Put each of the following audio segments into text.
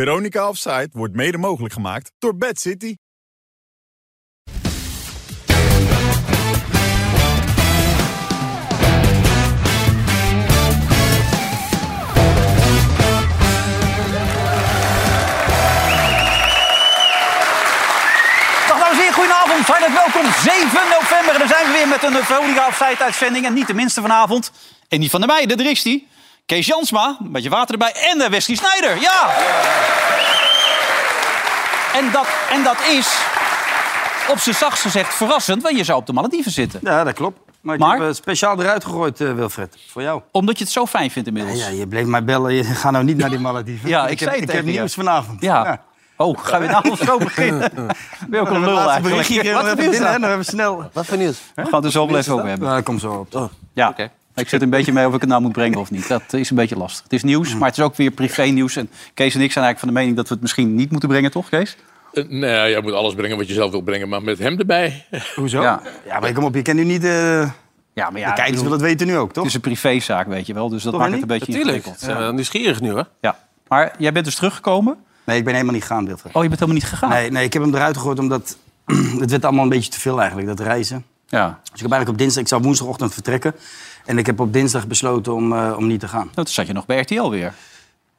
Veronica Offside wordt mede mogelijk gemaakt door Bad City. Dag dames en heren, goedenavond. Hartelijk welkom. 7 november. En daar zijn we weer met een Veronica Offside uitzending. En niet de minste vanavond. En die van de meiden, daar is die. Kees Jansma, een beetje water erbij. En eh, Wesley Snijder, ja. En dat, en dat is, op zijn zachtst gezegd, verrassend. Want je zou op de Malediven zitten. Ja, dat klopt. Maar ik Maar? heb eh, speciaal eruit gegooid, eh, Wilfred. Voor jou. Omdat je het zo fijn vindt Ja, inmiddels. ja, je bleef mij bellen. Je gaat nou niet naar die Malediven. Ja, ik zei heb, het Ik heb tegen je. nieuws vanavond. Ja. Oh, gaan we nou zo beginnen? Ben je ook een Het lul laatste berichtje eigenlijk? kregen we Wat even gebeurt binnen, hè, er? nog even snel. Oh. Wat voor nieuws? We gaan het er zo wel even over hebben. Ja, Nou, kom zo op. Ja, ik zit een beetje mee of ik het nou moet brengen of niet. Dat is een beetje lastig. Het is nieuws, maar het is ook weer privé-nieuws. En Kees en ik zijn eigenlijk van de mening dat we het misschien niet moeten brengen, toch, Kees? Eh, nou ja, jij moet alles brengen wat je zelf wil brengen, maar met hem erbij. Hoezo? Ja. Ja. maar kom op. Je kent nu niet... eh, Ja, maar ja, de ik kijkers bedoel, willen het weten nu ook, toch? het is een privézaak, weet je wel. Dus dat Toch, maakt het een Annie? beetje Tuurlijk. ingewikkeld. Zijn we nieuwsgierig nu, hè? Ja. Maar jij bent dus teruggekomen. Nee, ik ben helemaal niet gegaan, Wilfred. Oh, je bent helemaal niet gegaan. Nee, nee, ik heb hem eruit gegooid omdat... het werd allemaal een beetje te veel eigenlijk, dat reizen. Ja. Dus ik heb eigenlijk op dinsdag... Ik zou woensdagochtend vertrekken. En ik heb op dinsdag besloten om, eh, om niet te gaan. Nou, toen zat je nog bij RTL weer.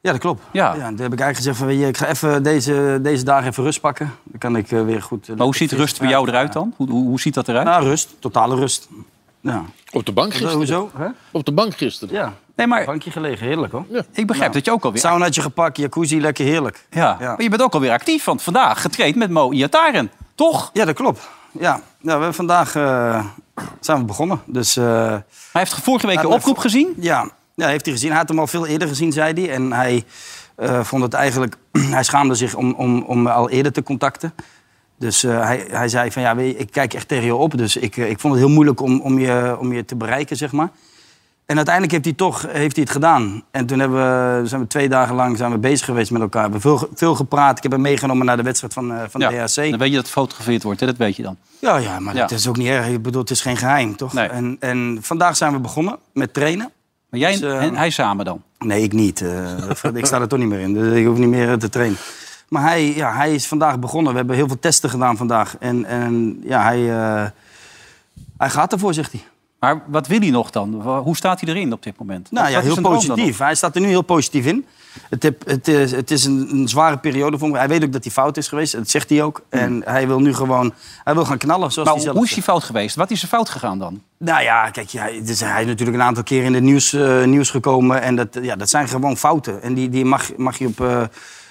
Ja, dat klopt. Ja. en toen heb ik eigenlijk gezegd van, weet je, ik ga even deze, deze dagen even rust pakken. Dan kan ik eh, weer goed... eh, Maar hoe lekker ziet fris rust bij praten. jou eruit dan? Hoe, hoe, hoe ziet dat eruit? Nou, rust. Totale rust. Ja. Op de bank gisteren. Hoezo? Hè? Op de bank gisteren. Ja. nee, maar Bankje gelegen, heerlijk hoor. ik begrijp dat je ook alweer... Saunaatje gepakt, jacuzzi, lekker heerlijk. Nou, Ja. Ja. Maar je bent ook alweer actief, want vandaag getraind met Mo Iataren. Toch? Ja, dat klopt. Ja, ja we hebben vandaag eh, zijn we begonnen. Dus eh, Hij heeft vorige week Nou, de maar- oproep gezien. ja. ja, heeft hij gezien. Hij had hem al veel eerder gezien, zei hij. En hij eh, vond het eigenlijk... hij schaamde zich om, om, om me al eerder te contacten. Dus eh, hij, hij zei van, ja, weet je, ik kijk echt tegen je op. Dus ik, eh, ik vond het heel moeilijk om, om, je, om je te bereiken, zeg maar. En uiteindelijk heeft hij toch heeft hij het gedaan. En toen hebben we, zijn we twee dagen lang zijn we bezig geweest met elkaar. We hebben veel, ge- veel gepraat. Ik heb hem meegenomen naar de wedstrijd van, eh, van de Dan DHC. weet je dat het gefotografeerd wordt, hè? dat weet je dan. Ja, ja, maar Ja. dat is ook niet erg. Ik bedoel, het is geen geheim, toch? Nee. En, en vandaag zijn we begonnen met trainen. Maar jij Dus, eh, en hij samen dan? Nee, ik niet. eh, ik sta er toch niet meer in. Dus ik hoef niet meer eh, te trainen. Maar hij, ja, hij is vandaag begonnen. We hebben heel veel testen gedaan vandaag. En, en ja, hij, eh, hij gaat ervoor, zegt hij. Nou Maar wat wil hij nog dan? Wa- Hoe staat hij erin op dit moment? Nou Wat- ja, wat is heel zijn droom dan positief. Hij staat er nu heel positief in. Het, heb- het is, het is een, een zware periode voor hem. Hij weet ook dat hij fout is geweest. Dat zegt hij ook. En hij wil nu gewoon... Hij wil gaan knallen, nog? zoals hij Hmm. Maar zelf hoe is zegt. die fout geweest? Wat is er fout gegaan dan? Nou ja, kijk, ja, dus hij is natuurlijk een aantal keer in het nieuws, eh, nieuws gekomen. En dat, ja, dat zijn gewoon fouten. En die, die mag, mag je op... eh,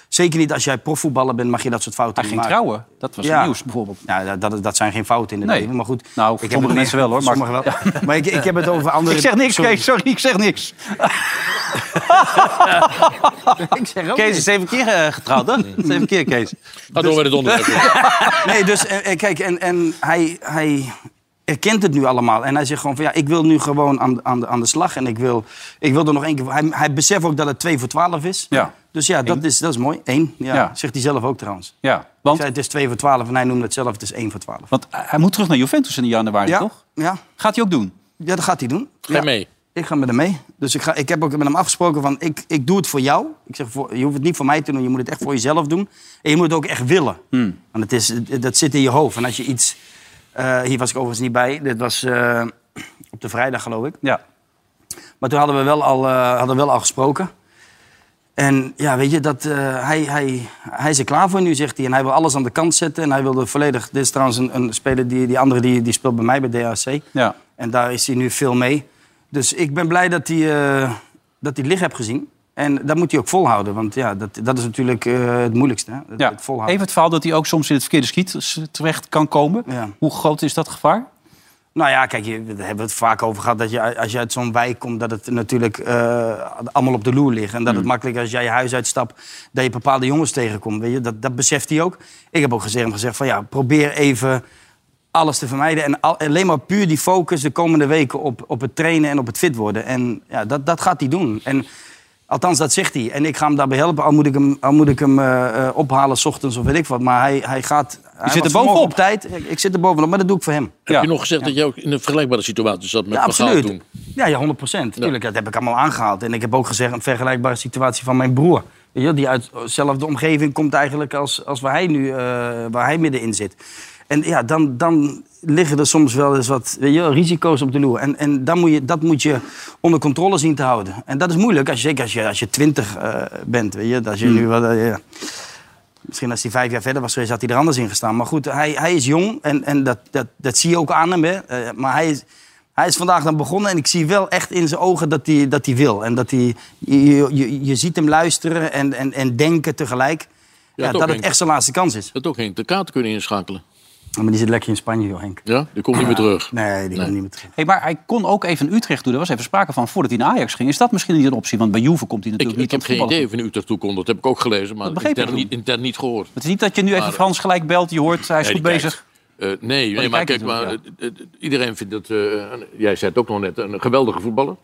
zeker niet als jij profvoetballer bent, mag je dat soort fouten Hij ging niet maken. trouwen. Dat was het Ja. nieuws bijvoorbeeld. Ja, dat- dat, dat zijn geen fouten in het Nee. leven. Maar goed, Nou, ik heb sommige het mensen wel, hoor, maar- Sommige wel. Maar ik, ik heb het over andere... Ik zeg niks, Sorry. Kees. Sorry, ik zeg niks. Ik zeg ook Kees is zeven keer eh, getrouwd, hè? Zeven keer, Kees. Ga door met het onderwerp. Nee, dus eh, eh, kijk, en, en hij, hij erkent het nu allemaal. En hij zegt gewoon van ja, ik wil nu gewoon aan, aan, de, aan de slag. En ik wil, ik wil er nog één keer... Hij, hij beseft ook dat het 2 voor 12 is. Ja. Dus ja, dat is, dat is mooi. Eén, ja. Ja. zegt hij zelf ook trouwens. Ja, Want... want, zei, het is 2 voor 12 en hij noemde het zelf, het is 1 voor 12. want hij moet terug naar Juventus in januari, Ja, toch? ja, Gaat hij ook doen? ja, dat gaat hij doen. Ga Ja. mee. Ik ga met hem mee. Dus ik, ga, ik heb ook met hem afgesproken van, ik, ik doe het voor jou. Ik zeg, voor, je hoeft het niet voor mij te doen, je moet het echt voor jezelf doen. En je moet het ook echt willen. Want het is, dat zit in je hoofd. En als je iets... eh, hier was ik overigens niet bij. Dit was eh, op de vrijdag, geloof ik. Ja. Maar toen hadden we wel al, eh, hadden we wel al gesproken. En ja, weet je, dat, eh, hij, hij, hij is er klaar voor nu, zegt hij. En hij wil alles aan de kant zetten. En hij wilde volledig... Dit is trouwens een, een speler, die, die andere die, die speelt bij mij bij DHC. ja. En daar is hij nu veel mee. Dus ik ben blij dat hij, eh, dat hij het licht heeft gezien. En dat moet hij ook volhouden. Want ja, dat, dat is natuurlijk eh, het moeilijkste. Hè? Het, ja. het volhouden. Even het verhaal dat hij ook soms in het verkeerde schiet terecht kan komen. Ja. Hoe groot is dat gevaar? Nou ja, kijk, je- daar hebben we het vaak over gehad. Dat je, als je uit zo'n wijk komt, dat het natuurlijk eh, allemaal op de loer ligt. En dat Hmm. het makkelijk als jij je huis uitstapt, dat je bepaalde jongens tegenkomt. Weet je? Dat, dat beseft hij ook. Ik heb ook gezegd, hem gezegd van ja, probeer even alles te vermijden. En al- alleen maar puur die focus de komende weken op, op het trainen en op het fit worden. En ja, dat, dat gaat hij doen. En Althans, dat zegt hij. En ik ga hem daarbij helpen. Al moet ik hem, al moet ik hem eh, eh, ophalen, s ochtends of weet ik wat. Maar hij, hij gaat... hij zit er was vanmorgen bovenop. Op tijd. Ik, ik zit er bovenop, maar dat doe ik voor hem. Ja. Heb je nog gezegd dat jij ook in een vergelijkbare situatie zat met Ja, wat Gaal absoluut. toen? Ja, ja, 100 procent. Tuurlijk, dat heb ik allemaal aangehaald. En ik heb ook gezegd een vergelijkbare situatie van mijn broer. Weet Weet je, wel, die uit zelf de omgeving komt eigenlijk als, als waar hij nu eh, waar hij middenin zit. En ja, dan, dan liggen er soms wel eens wat weet je, wel, risico's op de loer. En, en dan moet je, dat moet je onder controle zien te houden. En dat is moeilijk, als je, zeker als je, als je twintig eh, bent. Weet je, als je nu wat, eh, ja. Misschien als hij vijf jaar verder was geweest, had hij er anders in gestaan. Maar goed, hij, hij is jong en, en dat, dat, dat zie je ook aan hem. Hè. Eh, maar hij is, hij is vandaag dan begonnen en ik zie wel echt in zijn ogen dat hij, dat hij wil. En dat hij, je, je, je ziet hem luisteren en, en, en denken tegelijk. Ja, toch, dat het Henk? echt zijn laatste kans is. Dat ook geen de kaart kunnen inschakelen. Maar die zit lekker in Spanje, joh, Henk. Ja, die komt niet meer terug. Nee, die komt niet meer terug. Hey, maar hij kon ook even Utrecht doen. Daar was even sprake van voordat hij naar Ajax ging. Is dat misschien niet een optie? Want bij Juve komt hij Ik, natuurlijk ik niet heb aan het geen voetballen. idee van Utrecht toekomt. Dat heb ik ook gelezen, maar Dat begreep intern, ik toen. niet, intern niet gehoord. Het is niet dat je nu even Maar- eh, Frans gelijk belt. Je hoort, hij is Nee, goed die kijkt. bezig. Eh, nee, nee, maar kijkt kijk, maar, eh, eh, iedereen vindt dat... eh, een- jij zei het ook nog net, een geweldige voetballer.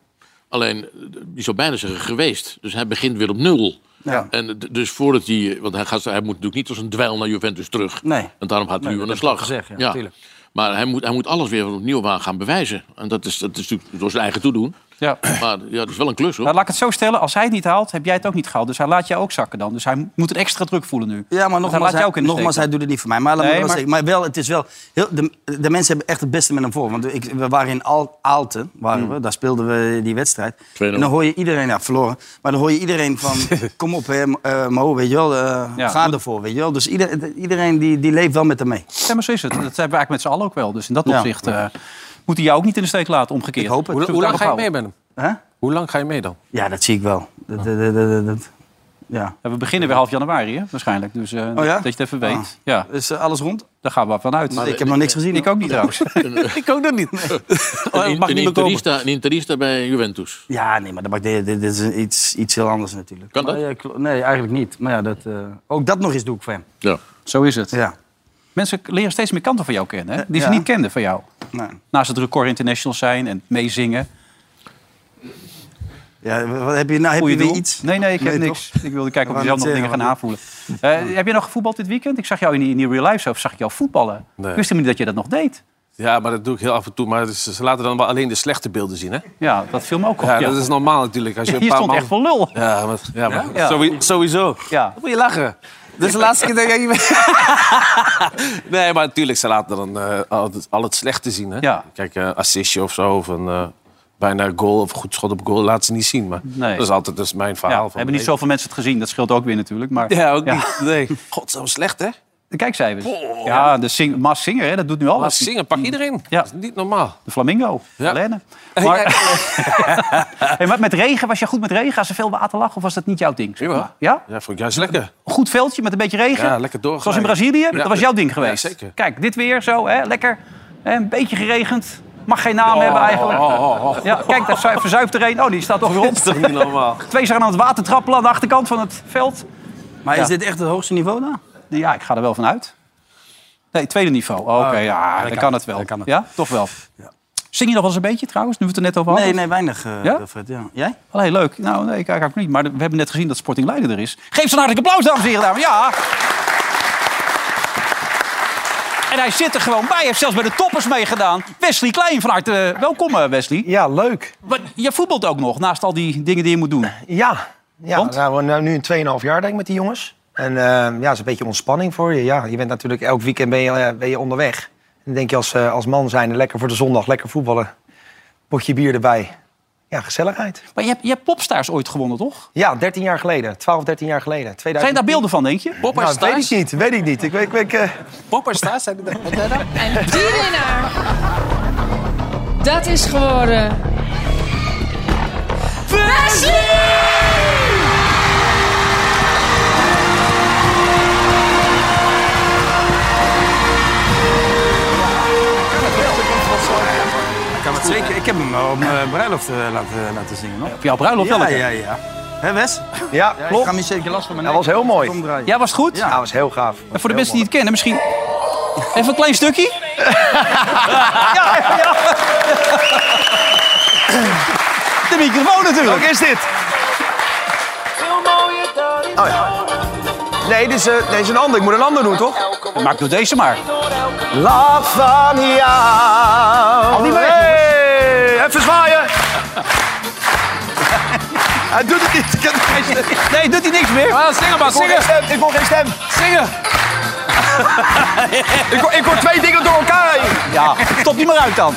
Alleen, eh, die zou bijna zeggen geweest. Dus hij begint weer op nul. Ja. En d- dus voordat hij... Want hij, gaat, hij moet natuurlijk niet als een dweil naar Juventus terug. Nee. En daarom gaat hij nu aan de heb ik al slag. gezegd, ja, tuurlijk. Maar hij moet, hij moet alles weer opnieuw aan gaan bewijzen. En dat is, dat is natuurlijk door zijn eigen toedoen. Ja. Maar ja, dat is wel een klus, hoor. Nou, laat ik het zo stellen. Als hij het niet haalt, heb jij het ook niet gehaald. Dus hij laat jou ook zakken dan. Dus hij moet een extra druk voelen nu. Ja, Want maar hij laat nogmaals, jou hij, ook in de steek nogmaals dan. hij doet het niet voor mij. Maar, laat me Nee, wel maar- zeggen, maar wel, het is wel... Heel, de, de mensen hebben echt het beste met hem voor. Want ik, we waren in Al, Aalten, waren Hmm. we, daar speelden we die wedstrijd. 2-0. En dan hoor je iedereen, ja, verloren. Maar dan hoor je iedereen van, kom op hè, eh, Mo, weet je wel, eh, Ja, ga moet- ervoor, weet je wel. Dus ieder- iedereen die, die leeft wel met hem mee. Ja, maar zo is het. Dat hebben we eigenlijk met z'n allen ook wel. Dus in dat Ja. opzicht eh, moet hij jou ook niet in de steek laten, omgekeerd. Ik hoop het. Hoe, hoe lang ga je mee met hem? Hè? Hoe lang ga je mee dan? Ja, dat zie ik wel. Dat, dat, dat, dat- dat- ja. Ja, We beginnen weer half januari, hè, waarschijnlijk. Dus eh, Oh ja? dat je het even weet. Ah. Ja, Is eh, alles rond? daar gaan we vanuit. ik heb nog niks gezien. Ik hoor. ook niet trouwens. ik ook dat niet. Een, mag niet meer een komen. interista, een interista bij Juventus. Ja, nee, maar dat maakt- dit, dit is iets, iets heel anders natuurlijk. Kan dat? Maar ja, kl- nee, eigenlijk niet. Maar ja, dat, eh, ook dat nog eens doe ik voor hem. Ja. Zo is het. Ja. Mensen leren steeds meer kanten van jou kennen, hè, die ze Ja. niet kenden van jou. Nee. Naast het record international zijn en meezingen. Ja, wat heb je nou? Heb Goeie je weer doel. iets? Nee, nee, ik heb Nee, niks. Ik wilde kijken of We je zelf nog gaan dingen het gaan aanvoelen. Eh, Heb je nog gevoetbald dit weekend? Ik zag jou in die, in die real life zelf, zag ik jou voetballen. Nee. Ik wist helemaal niet dat je dat nog deed. Ja, maar dat doe ik heel af en toe. Maar ze ze laten dan wel alleen de slechte beelden zien, hè? Ja, dat viel me ook op. Ja, ja. dat is normaal natuurlijk. Als je een Hier paar stond man- echt voor lul. Ja, maar, ja, maar Ja. sowie- sowieso. Ja. Moet je lachen. Dus de laatste keer denk ik... nee, maar natuurlijk, ze laten dan eh, al, het, al het slechte zien. Hè? Ja. Kijk, eh assistje of zo, of een eh, bijna goal of goed schot op goal, laten ze niet zien. Maar Nee. dat is altijd dus mijn Ja, verhaal. van hebben niet nee. zoveel mensen het gezien, dat scheelt ook weer natuurlijk. Maar Ja, ook niet. Nee. God, zo slecht, hè? de kijkcijfers. Ja, de sing, Mas Singer, hè, dat doet nu Laat alles. zingen, pak iedereen. Ja. Dat is niet normaal. De Flamingo, Ja. Helene. Maar, Hey, maar met regen, was je goed met regen? Als er veel water lag, of was dat niet jouw ding? zeg maar? Jawel. Ja? Ja, vond ik juist lekker. Goed veldje met een beetje regen? Ja, lekker doorgaan. Zoals in Brazilië, dat was jouw ding geweest. Ja, zeker. Kijk, dit weer zo, hè, lekker. Hè, Een beetje geregend. Mag geen naam hebben eigenlijk. Oh, oh, oh. Ja, kijk, daar zu- verzuipt er een. Oh, die staat toch weer op. Dat is toch niet normaal? Twee zijn aan het water trappelen aan de achterkant van het veld. Maar Ja. is dit echt het hoogste niveau daar? Ja, ik ga er wel van uit. Nee, tweede niveau. Oh, Oké, Ah, ja, dan, kan het wel. dan kan het. Ja, toch wel. Zing je nog wel eens een beetje trouwens, nu we het er net over hadden? Nee, nee, weinig, eh Ja? Wilfred, ja. Jij? Wel heel leuk. Nou, nee, ik kijk ook niet. Maar we hebben net gezien dat Sporting Leiden er is. Geef ze een hartelijk applaus, dames en heren. dames. Ja. En hij zit er gewoon bij. Hij heeft zelfs bij de toppers meegedaan. Wesley Klein, van harte eh, welkom eh, Wesley. Ja, leuk. Maar je voetbalt ook nog, naast al die dingen die je moet doen. Ja. ja Want? Nou, we zijn nu een 2,5 jaar denk ik met die jongens. En eh, ja, dat is een beetje ontspanning voor je. Ja, je bent natuurlijk elk weekend ben je, eh, ben je onderweg. En dan denk je als, eh, als man zijnde, lekker voor de zondag, lekker voetballen. Potje bier erbij. Ja, gezelligheid. Maar je hebt, je hebt popstars ooit gewonnen, toch? Ja, 13 jaar geleden. 12, 13 jaar geleden. 2000... Zijn daar beelden van, denk je? Poppa Nou, Staes? weet ik niet. Weet ik niet. Ik weet, ik weet, eh, Poppa Staes, zei hij dat? Wat zei hij dat? En die winnaar, dat is geworden... Wesley! Ik kan het zeker. Ik heb hem op mijn bruiloft laten, laten zingen, nog. Op Nou, jouw bruiloft wel. Ja, hè? ja, ja. Hé, Wes? ja, Ik klopt. ga hem zeker last van mijn Dat nek. was heel mooi. Omdraaien. Ja, was het goed? Ja, dat was heel gaaf. En voor de mensen die het kennen, misschien... Even een klein stukje? ja, even, ja. De microfoon natuurlijk. Wat is dit? Oh ja. Nee, dit is, eh, dit is een ander. Ik moet een ander doen, toch? Maak door deze maar. Laat van jou. Al die hey, Even zwaaien. Hij doet het. Nee, doet hij niks meer? Ah, zingen maar, Ik hoor zingen, geen stem, ik hoor geen stem. zingen. Ik hoor, ik hoor twee dingen door elkaar heen. Ja, stop die maar uit dan.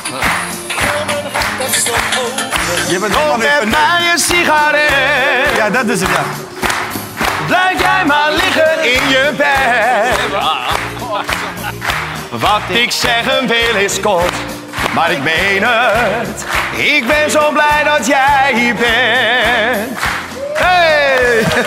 Je bent helemaal niet benauwd. mij een sigaret. Ja, dat is het, ja. Blijf jij maar liggen in je bed. Wat ik zeggen wil is kort, maar ik meen het. Ik ben zo blij dat jij hier bent. Hey! Ja.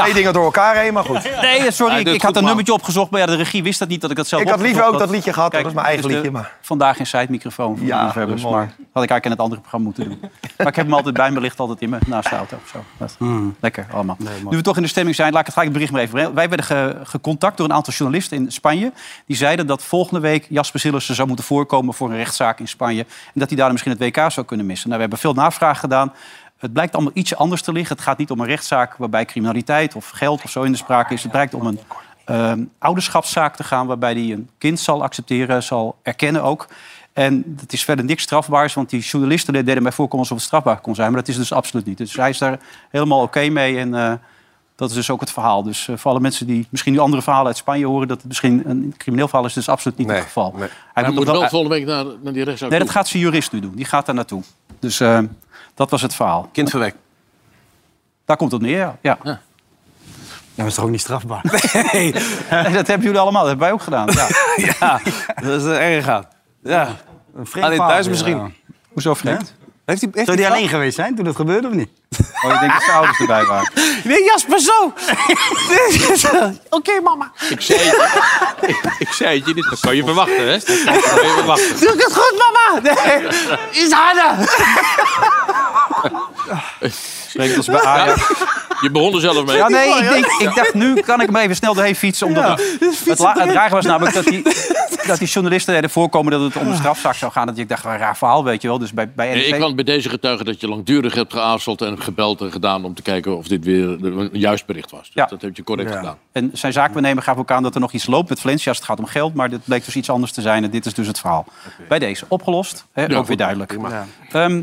Twee dingen door elkaar heen, maar goed. Nee, sorry, Hij ik, doet ik had goed, een man. nummertje opgezocht, maar ja, de regie wist dat niet dat ik dat zelf Ik had liever ook opgezocht dat liedje gehad, hoor. dat is mijn eigen dit liedje. de- Maar Vandaag in side-microfoon van Ja, ja, liefhebbers. mooi. Maar dat had ik eigenlijk in het andere programma moeten doen. maar ik heb hem altijd bij me, ligt altijd in me, naast de auto. of Zo. Dat- Lekker allemaal. nu we toch in de stemming zijn, laat ik het gelijk het bericht maar even brengen. Wij werden ge- gecontact door een aantal journalisten in Spanje. Die zeiden dat volgende week Jasper Sillissen zou moeten voorkomen voor een rechtszaak in Spanje. En dat hij daar misschien het WK zou kunnen missen. Nou, we hebben veel navraag gedaan. Het blijkt allemaal iets anders te liggen. Het gaat niet om een rechtszaak waarbij criminaliteit of geld of zo in de sprake is. Het blijkt om een ehm, ouderschapszaak te gaan... waarbij hij een kind zal accepteren, zal erkennen ook. En dat is verder niks strafbaars, want die journalisten deden mij voorkomen alsof het strafbaar kon zijn. Maar dat is dus absoluut niet. Dus hij is daar helemaal oké mee en eh, dat is dus ook het verhaal. Dus eh, voor alle mensen die misschien nu andere verhalen uit Spanje horen... dat het misschien een crimineel verhaal is, dat is absoluut niet het geval. Hij Hij nog moet wel volgende week naar, naar die rechtszaak Nee, dat toe. gaat zijn jurist nu doen. Die gaat daar naartoe. Dus eh, dat was het verhaal. Kind verwekt. Daar komt het neer, ja. ja. dat is toch ook niet strafbaar? Nee, dat hebben jullie allemaal, dat hebben wij ook gedaan. Ja. Ja, dat is eh, erg aan. Ja. Een vreemd Alleen verhaal thuis weer, misschien. ja. Hoezo vreemd? Heeft hij, heeft Zou die alleen geweest zijn toen dat gebeurde of niet? Oh, je denkt dat zijn ouders erbij waren. Nee, Jasper, zo. Oké, mama. Ik zei het je. ik, ik zei het je niet. Dat kan je verwachten, hè? Dat kan je verwachten. Doe ik het goed, mama? Nee, is harder. Spreekt als bij Ajax. Je begon er zelf mee. Ja, nee, ik, denk, ik dacht, nu kan ik hem even snel doorheen fietsen. Omdat het, het, la- het rare was namelijk dat die, dat die journalisten deden voorkomen... dat het om een strafzak zou gaan. Dat ik dacht, wat een raar verhaal, weet je wel. Dus bij, bij Nee, NEC ik kan bij deze getuigen dat je langdurig hebt geaarzeld en gebeld en gedaan om te kijken of dit weer een juist bericht was. Dus Ja. Dat heb je correct gedaan. En zijn zaakbenemer gaf ook aan dat er nog iets loopt met Valencia als het gaat om geld. Maar dit bleek dus iets anders te zijn. En dit is dus het verhaal. Bij deze opgelost. Hè, ook weer goed, duidelijk. Ehm,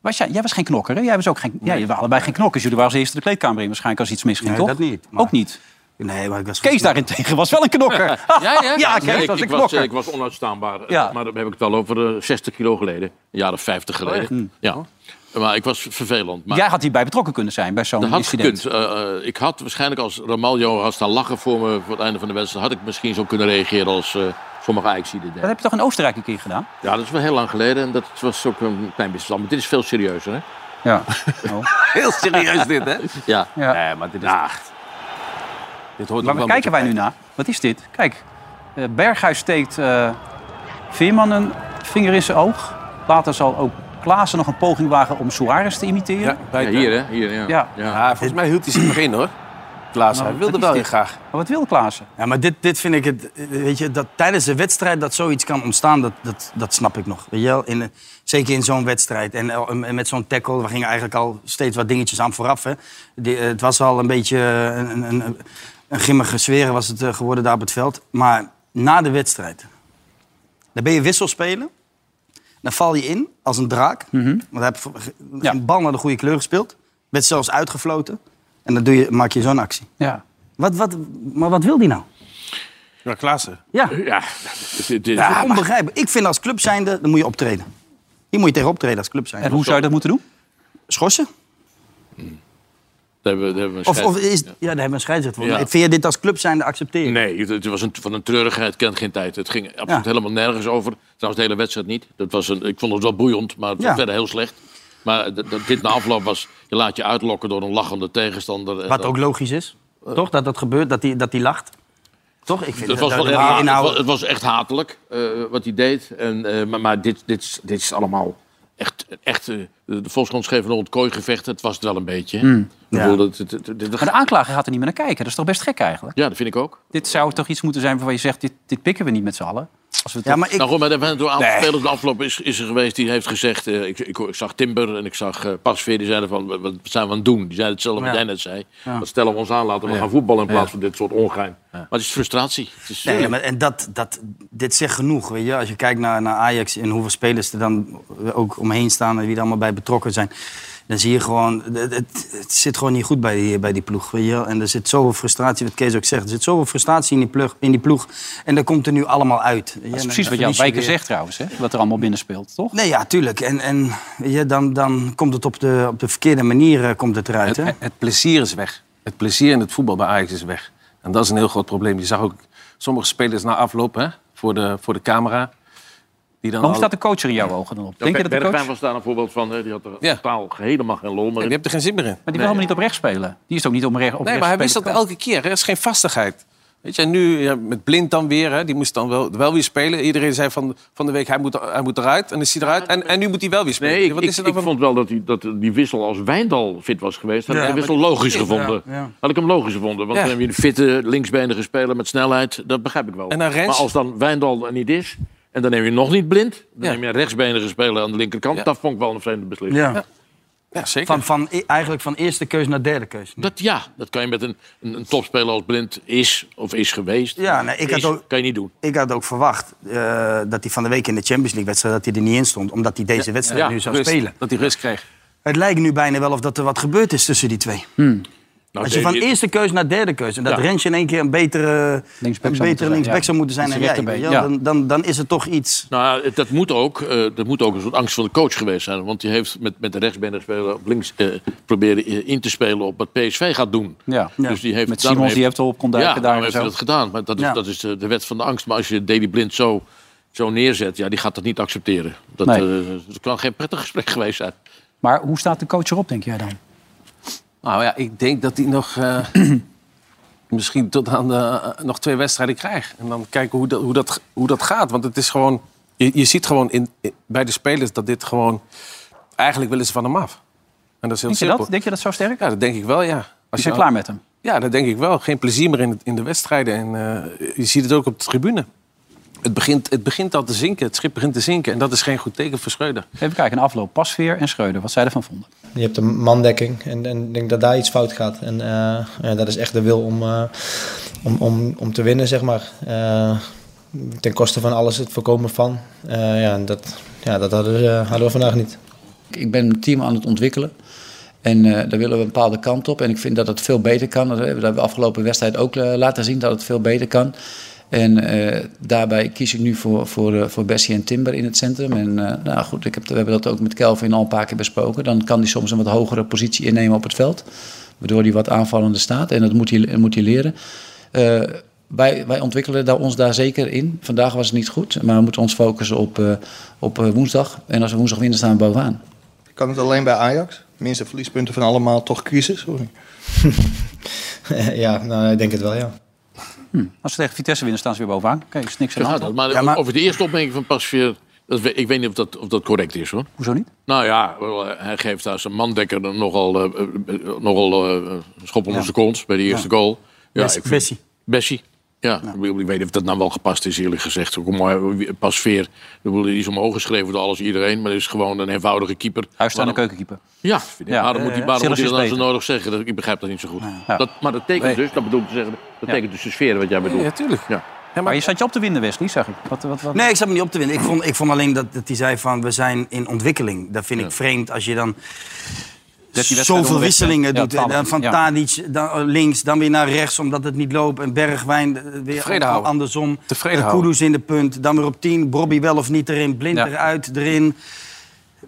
was jij, jij was geen knokker, hè? Jij was ook geen, ja, jullie waren allebei geen knokkers. Jullie waren als eerste de kleedkamer in waarschijnlijk als iets misging, Nee, toch? dat niet, maar- Ook niet. Nee, maar ik was Kees daarentegen was wel een knokker. ja. Kees was een ik, was, eh, knokker. ik was onuitstaanbaar. eh, Ja. Maar daar heb ik het al over eh, 60 kilo geleden. Een jaar of 50 geleden. Oh, ja. Maar ik was vervelend. Maar jij had hierbij betrokken kunnen zijn bij zo'n dat had incident. gekund. Eh, eh, ik had waarschijnlijk als Ramaljo had staan lachen voor me voor het einde van de wedstrijd... had ik misschien zo kunnen reageren als eh, sommige Ajaxiden Dat deden. heb je toch in Oostenrijk een keer gedaan? Ja, dat is wel heel lang geleden en dat was ook een klein misverstand. Maar dit is veel serieuzer, hè? Ja. Heel serieus dit, hè? Ja. Ja. Nee, maar dit is... Dit hoort Maar waar kijken wij nu naar? Wat is dit? Kijk, eh, Berghuis steekt eh, Veerman een vinger in zijn oog. Later zal ook Klaassen nog een poging wagen om Suarez te imiteren. Ja, bij Ja, hier, hè? Hier, ja. Ja. Ja, volgens mij hield hij zich nog in, hoor. Klaas, hij wilde dat is wel heel dit. graag. Maar wat wil Klaassen? Ja, maar dit, dit vind ik het. eh, Weet je, dat tijdens een wedstrijd dat zoiets kan ontstaan, dat, dat, dat snap ik nog. Weet je wel? In, eh, zeker in zo'n wedstrijd. En, eh, en met zo'n tackle, we gingen eigenlijk al steeds wat dingetjes aan vooraf. Hè. Die, eh, het was al een beetje eh, een, een, een, een grimmige sfeer was het eh, geworden daar op het veld. Maar na de wedstrijd, dan ben je wisselspelen. Dan val je in als een draak. Want hij heeft ge- ge- Mhm. Ja. geen bal naar de goede kleur gespeeld. Werd zelfs uitgefloten. En dan doe je, maak je zo'n actie. Ja. Wat, wat, maar wat wil die nou? Ja, Klaassen. Ja. Ja, Dus dit- dit- dit- Ja, onbegrijpelijk. Ik vind als club zijnde, dan moet je optreden. Hier moet je tegen optreden als club En zijnde. hoe zou je dat moeten doen? Schorsen? daar hebben we- daar hebben we een Of, of scheid- is, ja, daar hebben we een scheidsrechter voor. Ja. Vind je dit als club zijnde accepteren? Nee, het, het was een, van een treurigheid, kent geen tijd. Het ging absoluut helemaal nergens over. Trouwens, de hele wedstrijd niet. Dat was een, ik vond het wel boeiend, maar het was Ja. verder heel slecht. Maar d- d- dit na afloop was, je laat je uitlokken door een lachende tegenstander. En Wat dat- ook logisch is. toch? Dat dat gebeurt, dat die, dat die lacht. Toch? Ik vind Het was, dat- wel dat- erg, die het, inhoud- was, het was echt hatelijk eh, wat hij deed. En, eh, maar maar dit, dit, is- dit is allemaal echt... echt eh, de Volkskrant schreef een ontkooi gevecht. Het was het wel een beetje. Ik bedoel, dat- dat- dat- dat- Maar de aanklager gaat er niet meer naar kijken. Dat is toch best gek eigenlijk? ja, dat vind ik ook. Dit zou toch iets moeten zijn waarvan je zegt, dit, dit pikken we niet met z'n allen. Als we het Ja, maar ik, Nou goed, maar er zijn door een aantal Nee. spelers de afgelopen is, is er geweest die heeft gezegd... eh, ik, ik, ik zag Timber en ik zag eh, Pasveer, die zeiden van, wat wat zijn we aan het doen? Die zeiden hetzelfde wat Ja. jij net zei. Wat stellen we ons aan, laten we gaan voetballen in plaats van dit soort ongein. Maar het is frustratie. Het is, Nee, eh, maar en dat, dat, dit zegt genoeg. Weet je? Als je kijkt naar, naar Ajax en hoeveel spelers er dan ook omheen staan en wie er allemaal bij betrokken zijn. Dan zie je gewoon, het, het- het zit gewoon niet goed bij die, bij die ploeg. Weet je? wel. En er zit zoveel frustratie, wat Kees ook zegt. Er zit zoveel frustratie in die, plug, in die ploeg. En dat komt er nu allemaal uit. weet je. Dat is En precies dan wat Jan verlies je Wijker weer. zegt trouwens, hè? wat er allemaal binnen speelt, toch? Nee, ja, tuurlijk. En, en weet je, dan, dan komt het op de, op de verkeerde manier eh, komt het eruit. Het, Hè? het- het plezier is weg. Het plezier in het voetbal bij Ajax is weg. En dat is een heel groot probleem. Je zag ook sommige spelers na afloop hè, voor, de, voor de camera. Die dan Maar hoe al- staat de coach er in jouw ogen dan op? Denk je dat de coach... Bergwijn Maar was daar een voorbeeld van. Hè? Die had er Ja. totaal helemaal geen lol meer Je in. hebt er geen zin meer in. die wil helemaal niet oprecht spelen. Die is ook niet oprecht op Nee, maar hij wist dat elke keer. hè. Er is geen vastigheid. Weet je, en nu ja, met Blind dan weer, hè, die moest dan wel, wel weer spelen. Iedereen zei van, van de week, hij moet, hij moet eruit. En dan is hij eruit. En, en nu moet hij wel weer spelen. Nee, ik, Wat ik, is er dan ik van- vond wel dat die, dat die wissel als Wijndal fit was geweest... had ik Ja, de maar wissel die- logisch gevonden. ja, ja. Had ik hem logisch gevonden. Want Ja. dan heb je een fitte, linksbenige speler met snelheid. Dat begrijp ik wel. En dan Rens? Maar als dan Wijndal er niet is... en dan neem je nog niet blind... dan Ja. neem je een rechtsbenige speler aan de linkerkant. Ja. Dat vond ik wel een vreemde beslissing. Ja. Ja, zeker. Van, van, e, eigenlijk van eerste keus naar derde keus. Dat, ja, dat kan je met een, een, een topspeler als blind is of is geweest. Ja, nee, ik had Is, ook- Kan je niet doen. Ik had ook verwacht eh, dat hij van de week in de Champions League-wedstrijd dat hij er niet in stond. Omdat hij deze wedstrijd ja, nu zou Rust. spelen. Dat hij rust kreeg. Het lijkt nu bijna wel of dat er wat gebeurd is tussen die twee. Nou, Als je de- van de- eerste keus naar derde keus... en dat Ja. Rens in één keer een betere Linksback zou linksback, moeten een betere zijn, linksback ja. zou moeten zijn Dat dan is jij. een weet rechterbeen, je wel, ja. dan, dan, dan is er toch iets... Nou, het- dat moet, ook, eh, dat moet ook een soort angst van de coach geweest zijn. Want die heeft met, met de rechtsbenige speler op links eh, proberen eh, in te spelen op wat PSV gaat doen. Ja. Dus die heeft, Met daarom Simons die heeft erop kon duiken Ja, daar daarom en heeft zo. hij dat gedaan. Maar dat is, Ja. dat is de, de wet van de angst. Maar als je Deli Blind zo, zo neerzet, ja, die gaat dat niet accepteren. Dat, Nee. eh, het kan geen prettig gesprek geweest zijn. Maar hoe staat de coach erop, denk jij dan? Nou ja, ik denk dat hij nog eh, misschien tot aan de, eh, nog twee wedstrijden krijgt. En dan kijken hoe dat, hoe dat, hoe dat gaat. Want het is gewoon, je, je ziet gewoon in, in- bij de spelers dat dit gewoon... Eigenlijk willen ze van hem af. En dat is heel Denk je simpel. dat? Denk je dat zo sterk? Ja, dat denk ik wel, ja. Die Als zijn klaar met hem. Ja, dat denk ik wel. Geen plezier meer in, het- in de wedstrijden. En eh, je ziet het ook op de tribune. Het begint, het begint al te zinken. Het schip begint te zinken. En dat is geen goed teken voor Schreuder. Even kijken, een afloop. Pasveer en Schreuder, wat zij ervan vonden. Je hebt een mandekking en en ik denk dat daar iets fout gaat. En eh, ja, dat is echt de wil om, eh, om, om, om te winnen, zeg maar. Eh, ten koste van alles, het voorkomen van. Eh, ja, en dat, ja, dat hadden we, eh, hadden we vandaag niet. Ik ben een team aan het ontwikkelen. En eh, daar willen we een bepaalde kant op. En ik vind dat het veel beter kan. Dat hebben we de afgelopen wedstrijd ook eh, laten zien dat het veel beter kan. En eh, daarbij kies ik nu voor, voor, eh, voor Bessie en Timber in het centrum. En eh, nou goed, ik heb, we hebben dat ook met Kelvin al een paar keer besproken. Dan kan hij soms een wat hogere positie innemen op het veld. Waardoor hij wat aanvallender staat. En dat moet hij, moet hij leren. Eh, wij, wij ontwikkelen daar, ons daar zeker in. Vandaag was het niet goed. Maar we moeten ons focussen op, eh, op eh, woensdag. En als we woensdag winnen staan we bovenaan. Kan het alleen bij Ajax? Minste verliespunten van allemaal, toch crisis? Sorry. ja, nou, ik denk het wel, ja. Als ze tegen Vitesse winnen, staan ze weer bovenaan. Oké, is niks aan Zo de gaat hand. dat. toch? Maar, Ja, maar- over de eerste opmerking van Pasveer... Dat, we- ik weet niet of dat, of dat correct is, hoor. Hoezo niet? Nou ja, wel, eh, hij geeft daar zijn mandekker dan nogal, eh, eh, eh, nogal eh, een schop onder zijn kont bij de eerste goal. Ja, Bes- ik vind- Bessie. Bessie. Ja, Ik, bedoel, ik weet niet of dat nou wel gepast is, eerlijk gezegd. Ook maar eh, pas veer. Ik bedoel, Die is omhoog geschreven door alles en iedereen, maar hij is gewoon een eenvoudige keeper. Huisstaande Waarom- keukenkeeper. Ja, Ja. waarom moet hij, waarom Sillis moet hij is dat nou zo beter. nodig zeggen? Dat- Ik begrijp dat niet zo goed. Ja. Dat, maar dat betekent dus, dat bedoel ik te zeggen, dat betekent dus de sfeer wat jij bedoelt. Ja, tuurlijk. Ja. Maar je zat je op te winden, Wesley, zeg ik. Wat, wat, wat? Nee, ik zat me niet op te winnen. Ik vond, ik vond alleen dat, dat hij zei van we zijn in ontwikkeling. Dat vind ik vreemd als je dan wedstrijden zoveel onderweg zijn. wisselingen Ja, doet. En dan 12, van ja. Tadic dan eh, links, dan weer naar rechts omdat het niet loopt. En Bergwijn eh, weer Tevreden houden. andersom. Tevreden En houden. Kudus in de punt, dan weer op 10. Bobby wel of niet erin, Blind Ja. eruit, erin.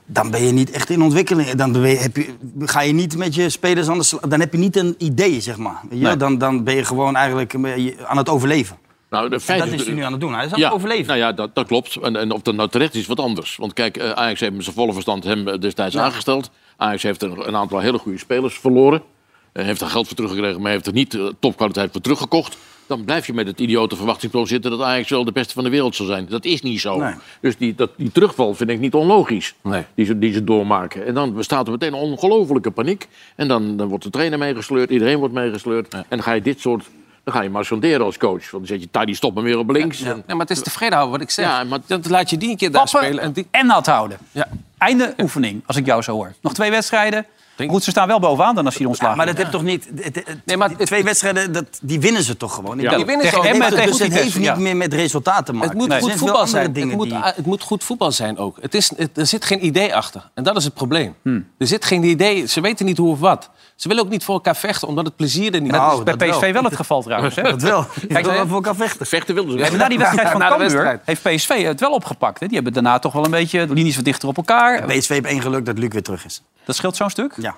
Dan ben je niet echt in ontwikkeling. Dan ben je- heb je, ga je niet met je spelers aan de slag. Dan heb je niet een idee, zeg maar. Weet je? Nee. Dan, dan ben je gewoon eigenlijk eh, je- aan het overleven. Nou, de En feit dat dus- is hij nu aan het doen. Hij is aan ja, het overleven. Nou ja, dat, dat klopt. En, en of dat nou terecht is, wat anders. Want kijk, eh, Ajax heeft met zijn volle verstand hem eh, destijds aangesteld. Ajax heeft een, een aantal hele goede spelers verloren. Eh, heeft daar geld voor teruggekregen, maar heeft er niet eh, topkwaliteit voor teruggekocht. Dan blijf je met het idiote verwachtingspatroon zitten dat Ajax wel de beste van de wereld zal zijn. Dat is niet zo. Nee. Dus die, dat, die terugval vind ik niet onlogisch. Nee. Die, ze, die ze doormaken. En dan bestaat er meteen een ongelofelijke paniek. En dan, dan wordt de trainer meegesleurd, iedereen wordt meegesleurd. En dan ga je dit soort Dan ga je maar sonderen als coach. Want dan zet je Taddy stop hem weer op links. En- Nee, maar het is tevreden houden wat ik zeg. Ja, maar- Dat laat je die een keer daar Pappen spelen. En die... en nat houden. ja. Einde oefening, als ik jou zo hoor. Nog twee wedstrijden. Goed, ze staan wel bovenaan dan als je ontslagen. Maar dat heeft toch niet... het- het- Nee, maar die het, twee wedstrijden, dat, die winnen ze toch gewoon? Ik Die bedoel, winnen ze Tegen ook. Emmen, Het- tegen dus het Vitesse, heeft niet ja. meer met resultaten te maken. Het moet, Er goed zijn veel voetbal andere zijn. Het dingen moet, die- het moet goed voetbal zijn ook. Het is, het- er zit geen idee achter. En dat is het probleem. Er zit geen idee. Ze weten niet hoe of wat. Ze willen ook niet voor elkaar vechten, omdat het plezier er niet Nou, is. Bij dat wel. PSV wel. het geval trouwens. Hè? Dat wel. Kijk, hè? we voor elkaar vechten. Vechten wilden ze wel. Na die wedstrijd van Na de Cambuur wedstrijd. heeft PSV het wel opgepakt. Hè? Die hebben daarna toch wel een beetje de linies wat dichter op elkaar. PSV heeft één geluk dat Luc weer terug is. Dat scheelt zo'n stuk. Ja.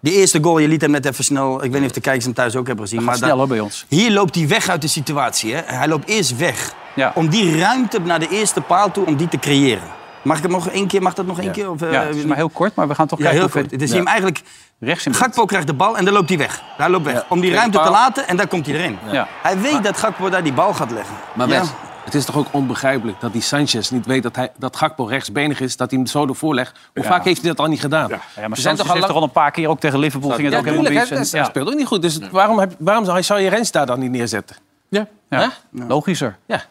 Die eerste goal, je liet hem net even snel... Ik weet niet of de kijkers hem thuis ook hebben gezien. Gaat Maar snel dat- hoor bij ons. Hier loopt hij weg uit de situatie. Hè? Hij loopt eerst weg. Ja. Om die ruimte naar de eerste paal toe, om die te creëren. Mag ik hem nog één keer? Mag dat nog één keer? Of, eh, Ja, het is maar heel kort, maar we gaan toch Ja, kijken heel of we- kort. Het is hem eigenlijk... rechts in beeld. Gakpo krijgt de bal en dan loopt hij weg. Hij loopt weg. Om die Tegen ruimte de te paal. laten en daar komt hij erin. Ja. Hij weet dat Gakpo daar die bal gaat leggen. Maar Ja. Wes, het is toch ook onbegrijpelijk dat die Sanchez niet weet dat, hij, dat Gakpo rechtsbenig is, dat hij hem zo ervoor legt. Hoe vaak heeft hij dat al niet gedaan? Ja, maar Ze Sanchez heeft toch al een paar keer, ook tegen Liverpool ging het Ja, ook helemaal tuurlijk, hè, mis. En- dat ja. speelt ook niet goed. Dus waarom, heb, waarom zou- zou je Rens daar dan niet neerzetten? Ja, logischer. Ja.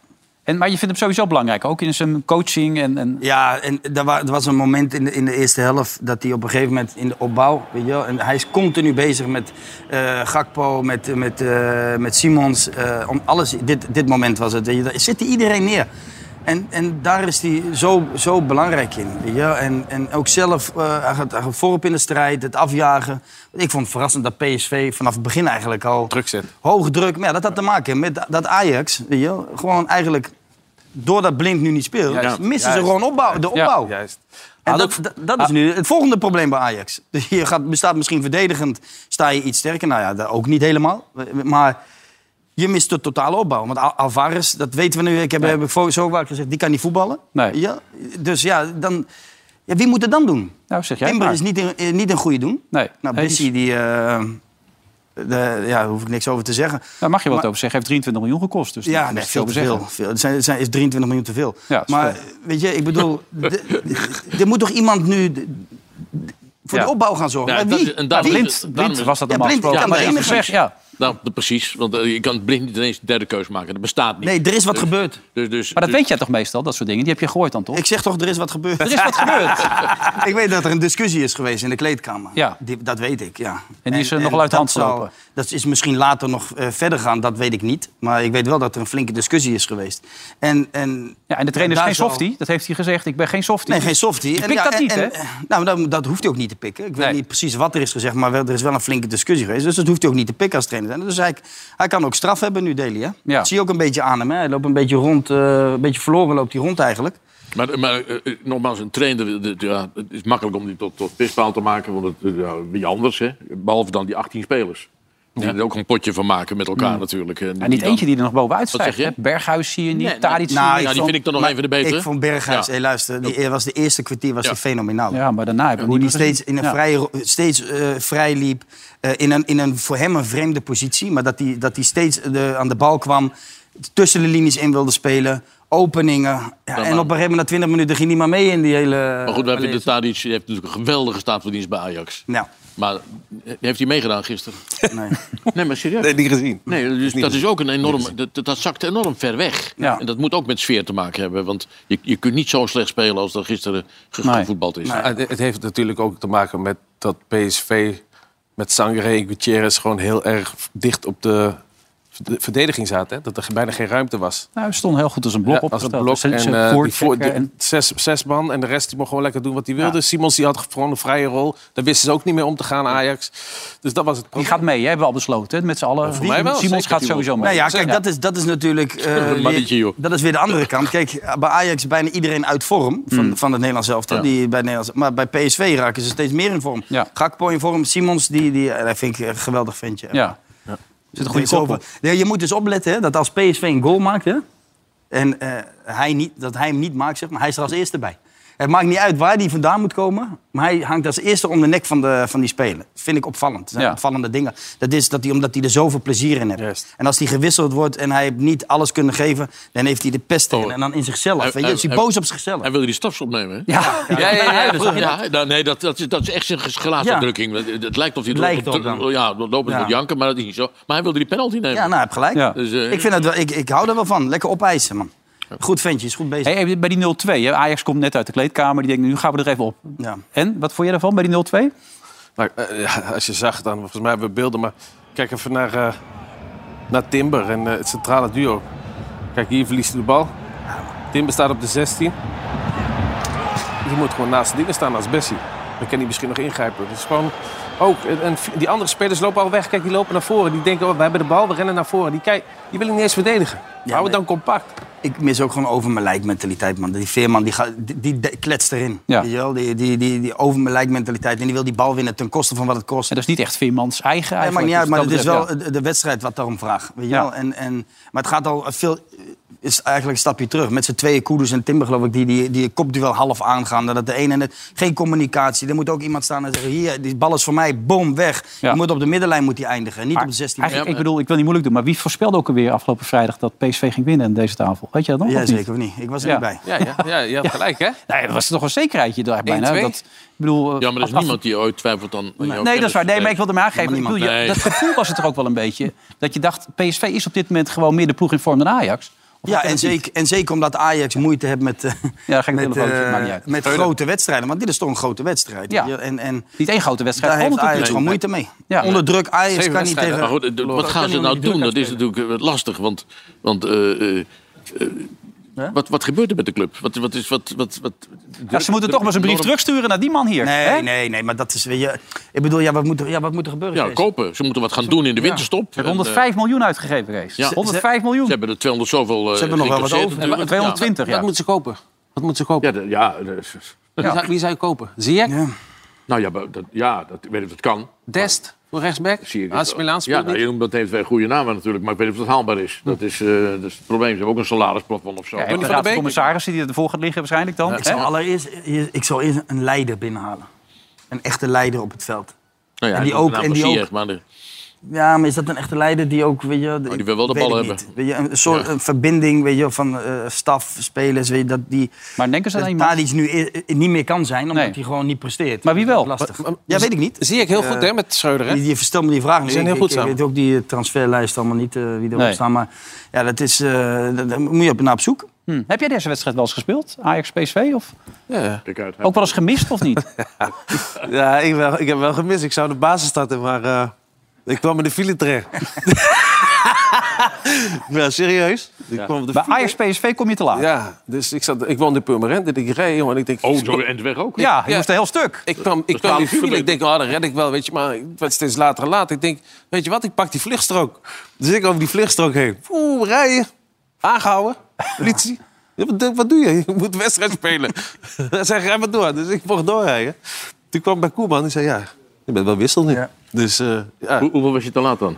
En, maar je vindt hem sowieso belangrijk, ook in zijn coaching. En, en, Ja, en er wa- er was een moment in de, in de eerste helft dat hij op een gegeven moment in de opbouw, weet je wel, en hij is continu bezig met eh, Gakpo, met, met, eh, met Simons, eh, om alles. Dit, dit moment was het, weet je, daar zit hij iedereen neer. En, en daar is hij zo, zo belangrijk in. Weet je? wel. En, en ook zelf, eh, hij, gaat, hij gaat voorop in de strijd, het afjagen. Ik vond het verrassend dat PSV vanaf het begin eigenlijk al... Druk zet. Hoog druk, maar ja, dat had te maken met dat Ajax, weet je, wel, gewoon eigenlijk... Doordat Blind nu niet speelt, Juist, missen ze juist. gewoon opbouw, de opbouw. Juist. En Had dat, ook- Ah. dat- dat is nu het volgende probleem bij Ajax. Dus Je gaat, bestaat misschien verdedigend, sta je iets sterker. Nou ja, dat ook niet helemaal. Maar je mist de totale opbouw. Want Al- Alvarez, dat weten we nu. Ik heb, heb ik voor- zo vaak gezegd, die kan niet voetballen. Nee. Ja, dus ja, dan, ja, wie moet het dan doen? nou, zeg jij Timber maar. is niet een, eh, niet een goede doen. Nee, Nou, eens. Bessie, die... eh, de, ja, daar hoef ik niks over te zeggen. Daar mag je wat Maar- over zeggen. Hij heeft 23 miljoen gekost. Dus Ja, dat nee, is veel te veel. zeggen. veel. Het, zijn, het zijn, is 23 miljoen te veel. Ja, dat is maar weet je, ik bedoel, de- de- er moet toch iemand nu de- de- voor Ja. de opbouw gaan zorgen? Ja, maar dat wie? is- en daar- Wie? Blind. Blind, Daarom blind is- was dat Ja, normaal Blind gesproken. kan maar de dat is enige gezegd, ja. Nou, de- precies, want eh, je kan blind niet ineens de derde keus maken. Dat bestaat niet. Nee, er is wat gebeurd. Dus, Maar dus, dat dus- weet jij toch meestal, dat soort dingen? Die heb je gehoord dan, toch? Ik zeg toch, er is wat gebeurd. Er is wat gebeurd. ik weet dat er een discussie is geweest in de kleedkamer. Ja. Die- dat weet ik, ja. En die is, eh, nogal uit de dat hand zal- gelopen. Dat is misschien later nog eh, verder gaan, dat weet ik niet. Maar ik weet wel dat er een flinke discussie is geweest. En, en, Ja, en de trainer is daar geen zal- softie. Dat heeft hij gezegd. Ik ben geen softie. Nee, geen softie. Je pikt dat niet, hè? Nou, dat, dat hoeft hij ook niet te pikken. Ik weet Nee. niet precies wat er is gezegd, maar wel- er is wel een flinke discussie geweest. Dus dat hoeft hij ook niet te pikken als trainer. Dus hij, hij kan ook straf hebben nu, Deli. Hè? Ja. Dat zie je ook een beetje aan hem. Hè? Hij loopt een beetje rond, eh, een beetje verloren loopt hij rond eigenlijk. Maar, maar eh, eh, nogmaals, een trainer, de- de- ja, het is makkelijk om die tot, tot pispaal te maken. Want het, eh, ja, wie anders, hè? behalve dan die 18 spelers. Die er ook een potje van maken met elkaar natuurlijk. En, En niet eentje die er nog bovenuit Wat zeg stijgt. hè? je? Berghuis zie je niet. Nee, Tadic nou, zie je ja, niet. die vind ik dan nog maar een van de betere. Ik vond Berghuis, Ja. hé, luister, die, eh, was de eerste kwartier was Ja. hij fenomenaal. Ja, maar daarna heb ik Hoe niet die meer gezien. steeds, in een Ja. vrije, ro- steeds eh, vrij liep. eh, in, een, in een voor hem een vreemde positie. Maar dat hij, dat hij steeds eh, de, aan de bal kwam. Tussen de linies in wilde spelen. Openingen. Ja, en op een gegeven moment na 20 minuten ging hij maar mee in die hele... Maar goed, wij vinden Tadic die heeft natuurlijk een geweldige staatverdienst bij Ajax. Nou, Maar eh, heeft hij meegedaan gisteren? nee. Nee, maar serieus. Nee, niet gezien. Nee, dus dat is ook een enorm. Dat, dat- dat zakt enorm ver weg. Ja. En dat moet ook met sfeer te maken hebben. Want je, je kunt niet zo slecht spelen als dat gisteren ge- Nee. gevoetbald is. Ja, het- het heeft natuurlijk ook te maken met dat PSV met Sangaré en Gutierrez gewoon heel erg dicht op de verde- verdediging zaten. Hè? Dat er bijna geen ruimte was. Nou, we stonden heel goed als een blok Dus Ja, op. als een blok en eh, die voor, de, en zes, zes man en de rest die mocht gewoon lekker doen wat hij wilde. Simons die had gewoon een vrije rol. Daar wisten ze ook niet mee om te gaan Ajax. Dus dat was die het Oh. probleem. gaat mee, hè, hebben we al besloten. hè, Met z'n allen. voor mij wel, Simons zeker gaat die sowieso mee. Nou ja, kijk, dat is, dat is natuurlijk... eh, weer- mannetje, joh. dat is weer de andere kant. Kijk, bij Ajax is bijna iedereen uit vorm van, van het Nederlands elftal. Ja. Die bij het Nederlands, maar bij PSV raken ze steeds meer in vorm. Ja. Gakpo in vorm, Simons, die, die, eh, dat vind ik een geweldig ventje. Ja. Zit een goede Dit is kop op. over. Ja, je moet dus opletten hè, dat als PSV een goal maakt... Hè, en eh, hij niet, dat hij hem niet maakt, zeg maar, hij is er als eerste bij. Het maakt niet uit waar die vandaan moet komen. Maar hij hangt als eerste om de nek van, de, van die speler. Vind ik opvallend. Dat zijn Ja. opvallende dingen. Dat is dat hij, omdat hij er zoveel plezier in heeft. Juist. En als hij gewisseld wordt en hij heeft niet alles kunnen geven... dan heeft hij de pest in. En dan in zichzelf. Hij- weet je, is hij hij- boos op zichzelf. Hij wilde die staps opnemen, hè? Ja, Dus, eh, Ja, ja, ja. dat is- dat, ja, nou, nee, dat, dat, is, dat is echt zijn gelaatsuitdrukking. Het, het lijkt of hij Lijkt loopt- ook dan. ja, lopend Ja. moet janken, maar dat is niet zo. Maar hij wilde die penalty nemen. Ja, nou, hij heeft gelijk. Ja. Dus, eh, Ik, vind dat wel, ik, ik hou er wel van. Lekker opeisen, man. Goed ventje, is goed bezig. Hey, hey, bij die 0-2, hè, Ajax komt net uit de kleedkamer. Die denkt, nu gaan we er even op. Ja. En, wat vond je daarvan bij die 0-2? Nou, eh, ja, als je zag dan, volgens mij hebben we beelden, maar kijk even naar, eh, naar Timber en eh, het centrale duo. Kijk, hier verliest hij de bal. Timber staat op de 16. Je moet gewoon naast de dingen staan als Bessie. Dan kan hij misschien nog ingrijpen. Het is gewoon ook. En, en die andere spelers lopen al weg. Kijk, die lopen naar voren. Die denken, oh, we hebben de bal, we rennen naar voren. Die, kijk, die wil ik niet eens verdedigen. Hou maar- het dan compact. Ik mis ook gewoon over mijn lijk mentaliteit, man. Die Veerman, die, gaat, die, die de- kletst erin. Ja. Weet je wel? Die, die, die, die over mijn lijk mentaliteit. En die wil die bal winnen ten koste van wat het kost. En dat is niet echt Veermans eigen Nee, eigenlijk. maakt niet uit, maar Dus het is dat wel betreft, de- de wedstrijd wat daarom vraagt. Weet je Ja. wel? En, en, maar het gaat al veel... is eigenlijk een stapje terug. Met z'n tweeën, Koeders en Timber, geloof ik, die, die, die kopduel half aangaan. Dat de ene net... Geen communicatie. Er moet ook iemand staan en zeggen... Hier, die bal is voor mij. Boom, weg. Ja. Je moet op de middenlijn moet die eindigen. Niet Maar op de 16 Eigenlijk, Ja, ik bedoel, ik wil niet moeilijk doen, maar wie voorspelde ook alweer afgelopen vrijdag dat PSV ging winnen aan deze tafel? Weet je dat nog? Ja, of niet? zeker of niet? Ik was er Ja. niet bij. Ja, ja, ja je had gelijk, hè? Nee, dat was toch een zekerheidje daar bijna. 1-2? Dat, ik bedoel, eh, ja, maar er als- is als- niemand die ooit twijfelt aan. aan jouw Nee, dat is waar. Nee, kennis. maar ik wilde hem aangeven. Helemaal Ik bedoel, je- niemand. Dat gevoel was het toch ook wel een beetje. Dat je dacht, PSV is op dit moment gewoon meer de ploeg in vorm dan Ajax. Of Ja, dat en is niet? zeker, en zeker omdat Ajax moeite heeft met, eh, Ja, ga ik met, met, eh, maakt niet uit. met grote wedstrijden. Want dit is toch een grote wedstrijd. Ja. weet je? En, en Niet één grote wedstrijd. daar heeft gewoon Ajax gewoon natuurlijk. moeite mee. Ja. Onder druk, Ajax Zeven kan niet wedstrijden. Maar tegen... goed, eh, wat gaan ze nou doen? Dat is natuurlijk eh, lastig. Want, want eh, eh, eh, wat, wat gebeurt er met de club? Wat, wat is, wat, wat, wat, Ja, ze moeten toch maar eens een brief terugsturen naar die man hier. hè? Nee, nee, nee, maar dat is... weet je, Ik bedoel, ja, wat moet er, ja, wat moet er gebeuren? Ja, Kees? kopen. Ze moeten wat gaan doen in de winterstop. Ze En, eh, hebben 105 miljoen uitgegeven, Kees. Ja. 105 Ze miljoen. hebben er 200 zoveel. eh, Ze hebben nog wel wat over. Ja, maar 220, Wat ja. moeten ze kopen? Wat moeten ze kopen? Ja, de- ja, de- Wie, zou, wie zou je kopen? Ziyech? Ja. nou ja, maar dat, ja, dat weet ik of dat kan. Dest? Voor rechtsback? Zie ik Als Milaan ja, speelt nou, niet. je noemt dat heeft twee goede namen natuurlijk, maar ik weet niet of dat haalbaar is. Dat is, eh, dat is het probleem. Ze hebben ook een salarisplafond of zo. Ja, en Maar- de van de raad van Beek. commissarissen die ervoor gaat liggen waarschijnlijk dan. Ik hè? zou allereerst ik zou eerst een leider binnenhalen. Een echte leider op het veld. nou ja, en die dat is ook- nou en die Ziyech, ook- maar de- Ja, maar is dat een echte leider die ook, weet je... Oh, die wil wel de weet bal ik hebben. niet. Weet je, een soort een verbinding, weet je, van eh, staf, spelers, weet je, dat die... Maar denken ze aan dat iemand? Dus Tadic nu i- i- niet meer kan zijn, omdat Nee. hij gewoon niet presteert. Maar wie wel? Dat is lastig. Maar- maar- ja, weet ik niet. Dus Zie ik heel goed, hè, met Schreuder, hè? Die, die verstelt me die vraag nu. zijn Ik- heel goed ik, ik samen. weet ook die eh, transferlijst allemaal niet, eh, wie erop Nee. staan. Maar ja, dat is... eh, dat- daar moet je op, naar op zoek. Hm. Heb jij deze wedstrijd wel eens gespeeld? Ajax PSV? Of Ja, Kijk uit. ook wel eens gemist of niet? ja ik, wel, ik heb wel gemist. Ik zou de basis starten, maar eh, ik kwam in de file terecht. ja, serieus. Ik kwam op de Bij file. Ajax PSV kom je te laat. Ja, Ja, dus ik, zat, ik woonde in Purmerend en ik reed, jongen. En ik denk, Oh, zo en de weg ook. je moest een heel stuk. Ik kwam, ik kwam in die file. Ik denk, oh, dat red ik wel, weet je. Maar het werd steeds later en later. Ik denk, weet je wat, ik pak die vluchtstrook. Dus ik over die vluchtstrook heen. Oeh, rijden. Aangehouden. Politie. Ja, wat, doe- wat doe je? Je moet wedstrijd spelen. Zij rij maar door. Dus ik mocht doorrijden. Toen kwam bij Koeman en zei, ja, je bent wel wissel nu. Ja. Dus eh, ja, Hoe- hoeveel was je te laat dan?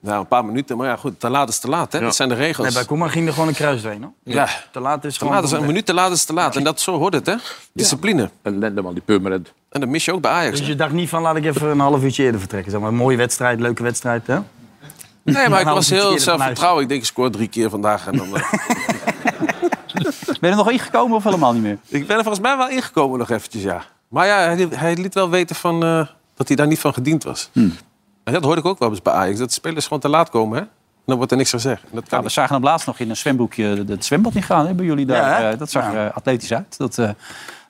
nou, een paar minuten. Maar ja, goed, te laat is te laat, hè. Ja. Dat zijn de regels. Nee, bij Koeman ging er gewoon een kruis doorheen. hoor. ja. Te laat is Te gewoon... laat is een minuut, te laat is te laat. En dat, zo hoort het, hè. Discipline. Ellende man, nou die permanent. En dat mis je ook bij Ajax. Dus je dacht niet van, laat ik even een half uurtje eerder vertrekken. Zeg maar, een mooie wedstrijd, leuke wedstrijd, hè? Nee, maar Nou, ik was dan moet je heel er vanuit. zelfvertrouwen. Ik denk, ik scoor drie keer vandaag. En dan, eh, Ben je er nog ingekomen of helemaal niet meer? ik ben er volgens mij wel ingekomen nog eventjes, ja. Maar ja, hij, hij liet wel weten van, eh, dat hij daar niet van gediend was. En dat hoorde ik ook wel eens bij Ajax. Dat spelers gewoon te laat komen, hè. En dan wordt er niks gezegd. En dat kan dus- Ja, we zagen hem laatst nog in een zwembroekje de- de- het zwembad niet gaan. Hebben jullie daar? Ja, hè? eh, dat zag er eh, atletisch uit. Dat, eh, daar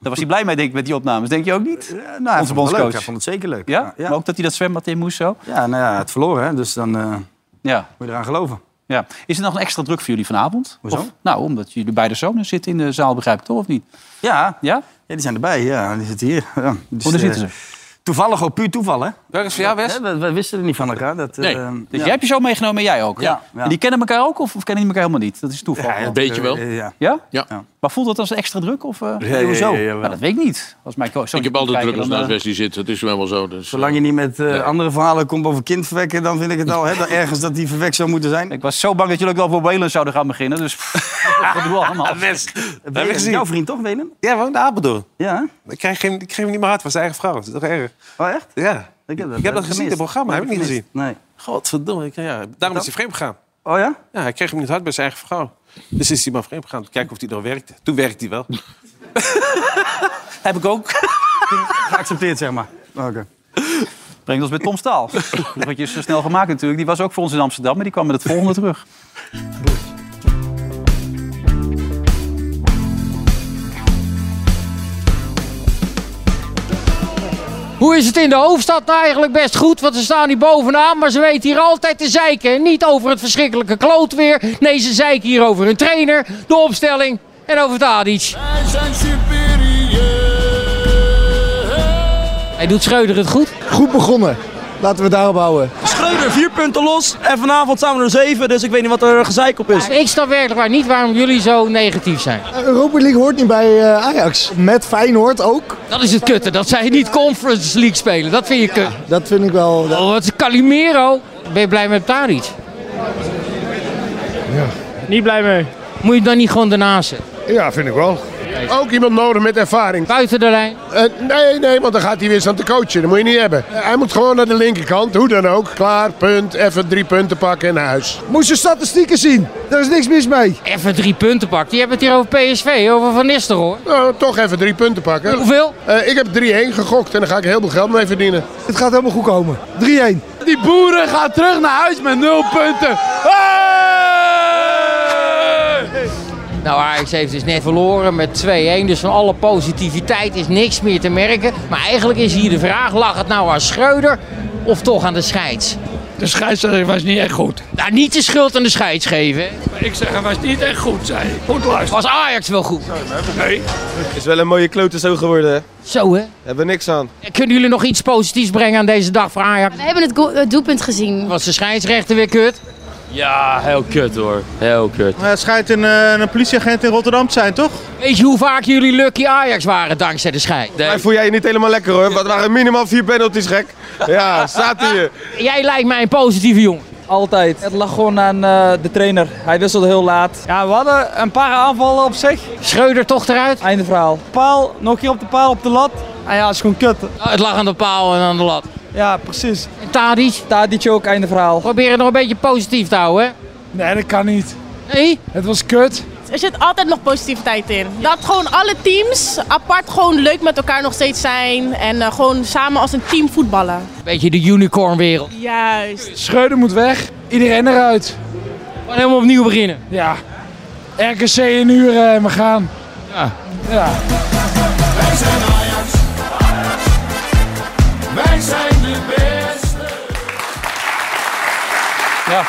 was hij blij mee, denk ik, met die opnames. Denk je ook niet? Ja, nou, hij Onze vond het wel leuk. bondscoach. Hij vond het zeker leuk. Ja? ja. Maar ook dat hij dat zwembad in moest zo? Ja, nou ja, het verloren, hè? dus dan eh, Ja. moet je eraan geloven. ja. Is er nog een extra druk voor jullie vanavond? Hoezo? Of- nou, omdat jullie beide zonen zitten in de zaal, begrijp ik toch, of niet? Ja, ja, Ja? die zijn erbij, ja, die zitten hier. Ja, dus, Hoe daar eh, zitten ze? Toevallig, ook puur toeval, hè? Welke is voor jou, Wes? Hè, we, we wisten er niet van elkaar. Dat, eh, Nee, ja. Dus jij hebt je zo meegenomen en jij ook? Ja, ja. En die kennen elkaar ook of, of kennen die elkaar helemaal niet? Dat is toeval. Ja, ja. Een beetje wel. Eh, ja. Ja? Ja. Ja. Maar voelt dat als een extra druk? Of, eh, Ja, ja, ja, zo? ja, jawel. Nou, dat weet ik niet. Als mijn coach, Ik heb altijd druk als naar eh, Wesley zit. Het is wel wel zo. Dus, Zolang je niet met eh, andere verhalen komt over kindverwekken, dan vind ik het al hè, dat ergens dat die verwekt zou moeten zijn. Ik was zo bang dat jullie ook wel voor Welen zouden gaan beginnen. Dus dat doen we allemaal. Wenen, Jouw vriend toch, Wenen? Ja, woont in Apeldoorn. Ja, Ik kreeg, geen, ik kreeg hem niet meer uit van zijn eigen vrouw. Dat is toch erg? hè? oh echt? Ja. Ik heb dat, Ik heb dat gezien, gemist. dat programma. Heb ik niet gezien. gemist. Nee. Godverdomme. ik- Ja. Daarom is hij vreemd gegaan. Oh ja? Ja, hij kreeg hem niet hard bij zijn eigen vrouw. Dus is hij maar vreemd gegaan. Kijken of hij nog werkte. Toen werkte hij wel. Heb ik ook. Geaccepteerd, zeg maar. Oké. Brengt ons bij Tom Staal. Dat je zo snel gemaakt natuurlijk. Die was ook voor ons in Amsterdam, maar die kwam met het volgende terug. Hoe is het in de hoofdstad? Nou, eigenlijk best goed, want ze staan hier bovenaan. Maar ze weten hier altijd te zeiken. En niet over het verschrikkelijke klootweer. Nee, ze zeiken hier over hun trainer, de opstelling en over Tadic. Wij zijn superieur. Hij doet Schreuder het goed. Goed begonnen. Laten we daarop houden. Schreuder, vier punten los. En vanavond staan we er zeven, dus ik weet niet wat er gezeik op is. Ik snap werkelijk waar niet waarom jullie zo negatief zijn. Europa League hoort niet bij eh, Ajax. Met Feyenoord ook. Dat is het kutte, dat zij niet Conference League spelen. Dat vind je kut. Dat vind ik wel... Oh, wat is Calimero. Ben je blij met Tadic? Niet blij mee. Moet je het dan niet gewoon daarnaast zetten? Ja, vind ik wel. Ook iemand nodig met ervaring. Buiten de lijn? Eh, nee, nee, want dan gaat hij weer staan te coachen. Dat moet je niet hebben. Eh, hij moet gewoon naar de linkerkant, hoe dan ook. Klaar, punt, even drie punten pakken en naar huis. Moest je statistieken zien. Daar is niks mis mee. Even drie punten pakken. Je hebt het hier over PSV, over Van Nistelrooy. Nou, toch even drie punten pakken. Eh, Hoeveel? ik heb 3-1 gegokt en daar ga ik heel veel geld mee verdienen. Het gaat helemaal goed komen. 3-1. Die boeren gaan terug naar huis met nul punten. Nou, Ajax heeft dus net verloren met 2-1. Dus van alle positiviteit is niks meer te merken. Maar eigenlijk is hier de vraag, lag het nou aan Schreuder of toch aan de scheids? De scheidsrechter was niet echt goed. Nou, niet de schuld aan de scheids geven. hè. Maar ik zeg, hij was niet echt goed, zei hij. Goed Was luisteren. Ajax wel goed? Nee. Is wel een mooie klote zo geworden, hè? Zo, hè? Hebben we niks aan. Kunnen jullie nog iets positiefs brengen aan deze dag voor Ajax? We hebben het, go- het doelpunt gezien. Was de scheidsrechter weer kut? Ja, heel kut hoor. Heel kut. Het schijnt een, eh, een politieagent in Rotterdam te zijn, toch? Weet je hoe vaak jullie lucky Ajax waren dankzij de scheids? Hij voel jij je niet helemaal lekker hoor. Wat waren minimaal vier penalties gek. Ja, staat hier. Jij lijkt mij een positieve jongen. Altijd. Het lag gewoon aan eh, de trainer. Hij wisselde heel laat. Ja, we hadden een paar aanvallen op zich. Schreuder toch eruit? Einde verhaal. Paal, nog een keer op de paal, op de lat. Ah ja, het is gewoon kut. Het lag aan de paal en aan de lat. Ja, precies. Tadic? Tadic ook, einde verhaal. Probeer het nog een beetje positief te houden, hè? Nee, dat kan niet. Nee? Het was kut. Er zit altijd nog positiviteit in. Dat gewoon alle teams apart gewoon leuk met elkaar nog steeds zijn. En eh, gewoon samen als een team voetballen. Een beetje de unicornwereld. Juist. Schreuder moet weg. Iedereen eruit. Gewoon helemaal opnieuw beginnen. Ja. RKC in uren en we gaan. Ja. Ja. Wij zijn Ajax. Wij zijn de beste. Ja.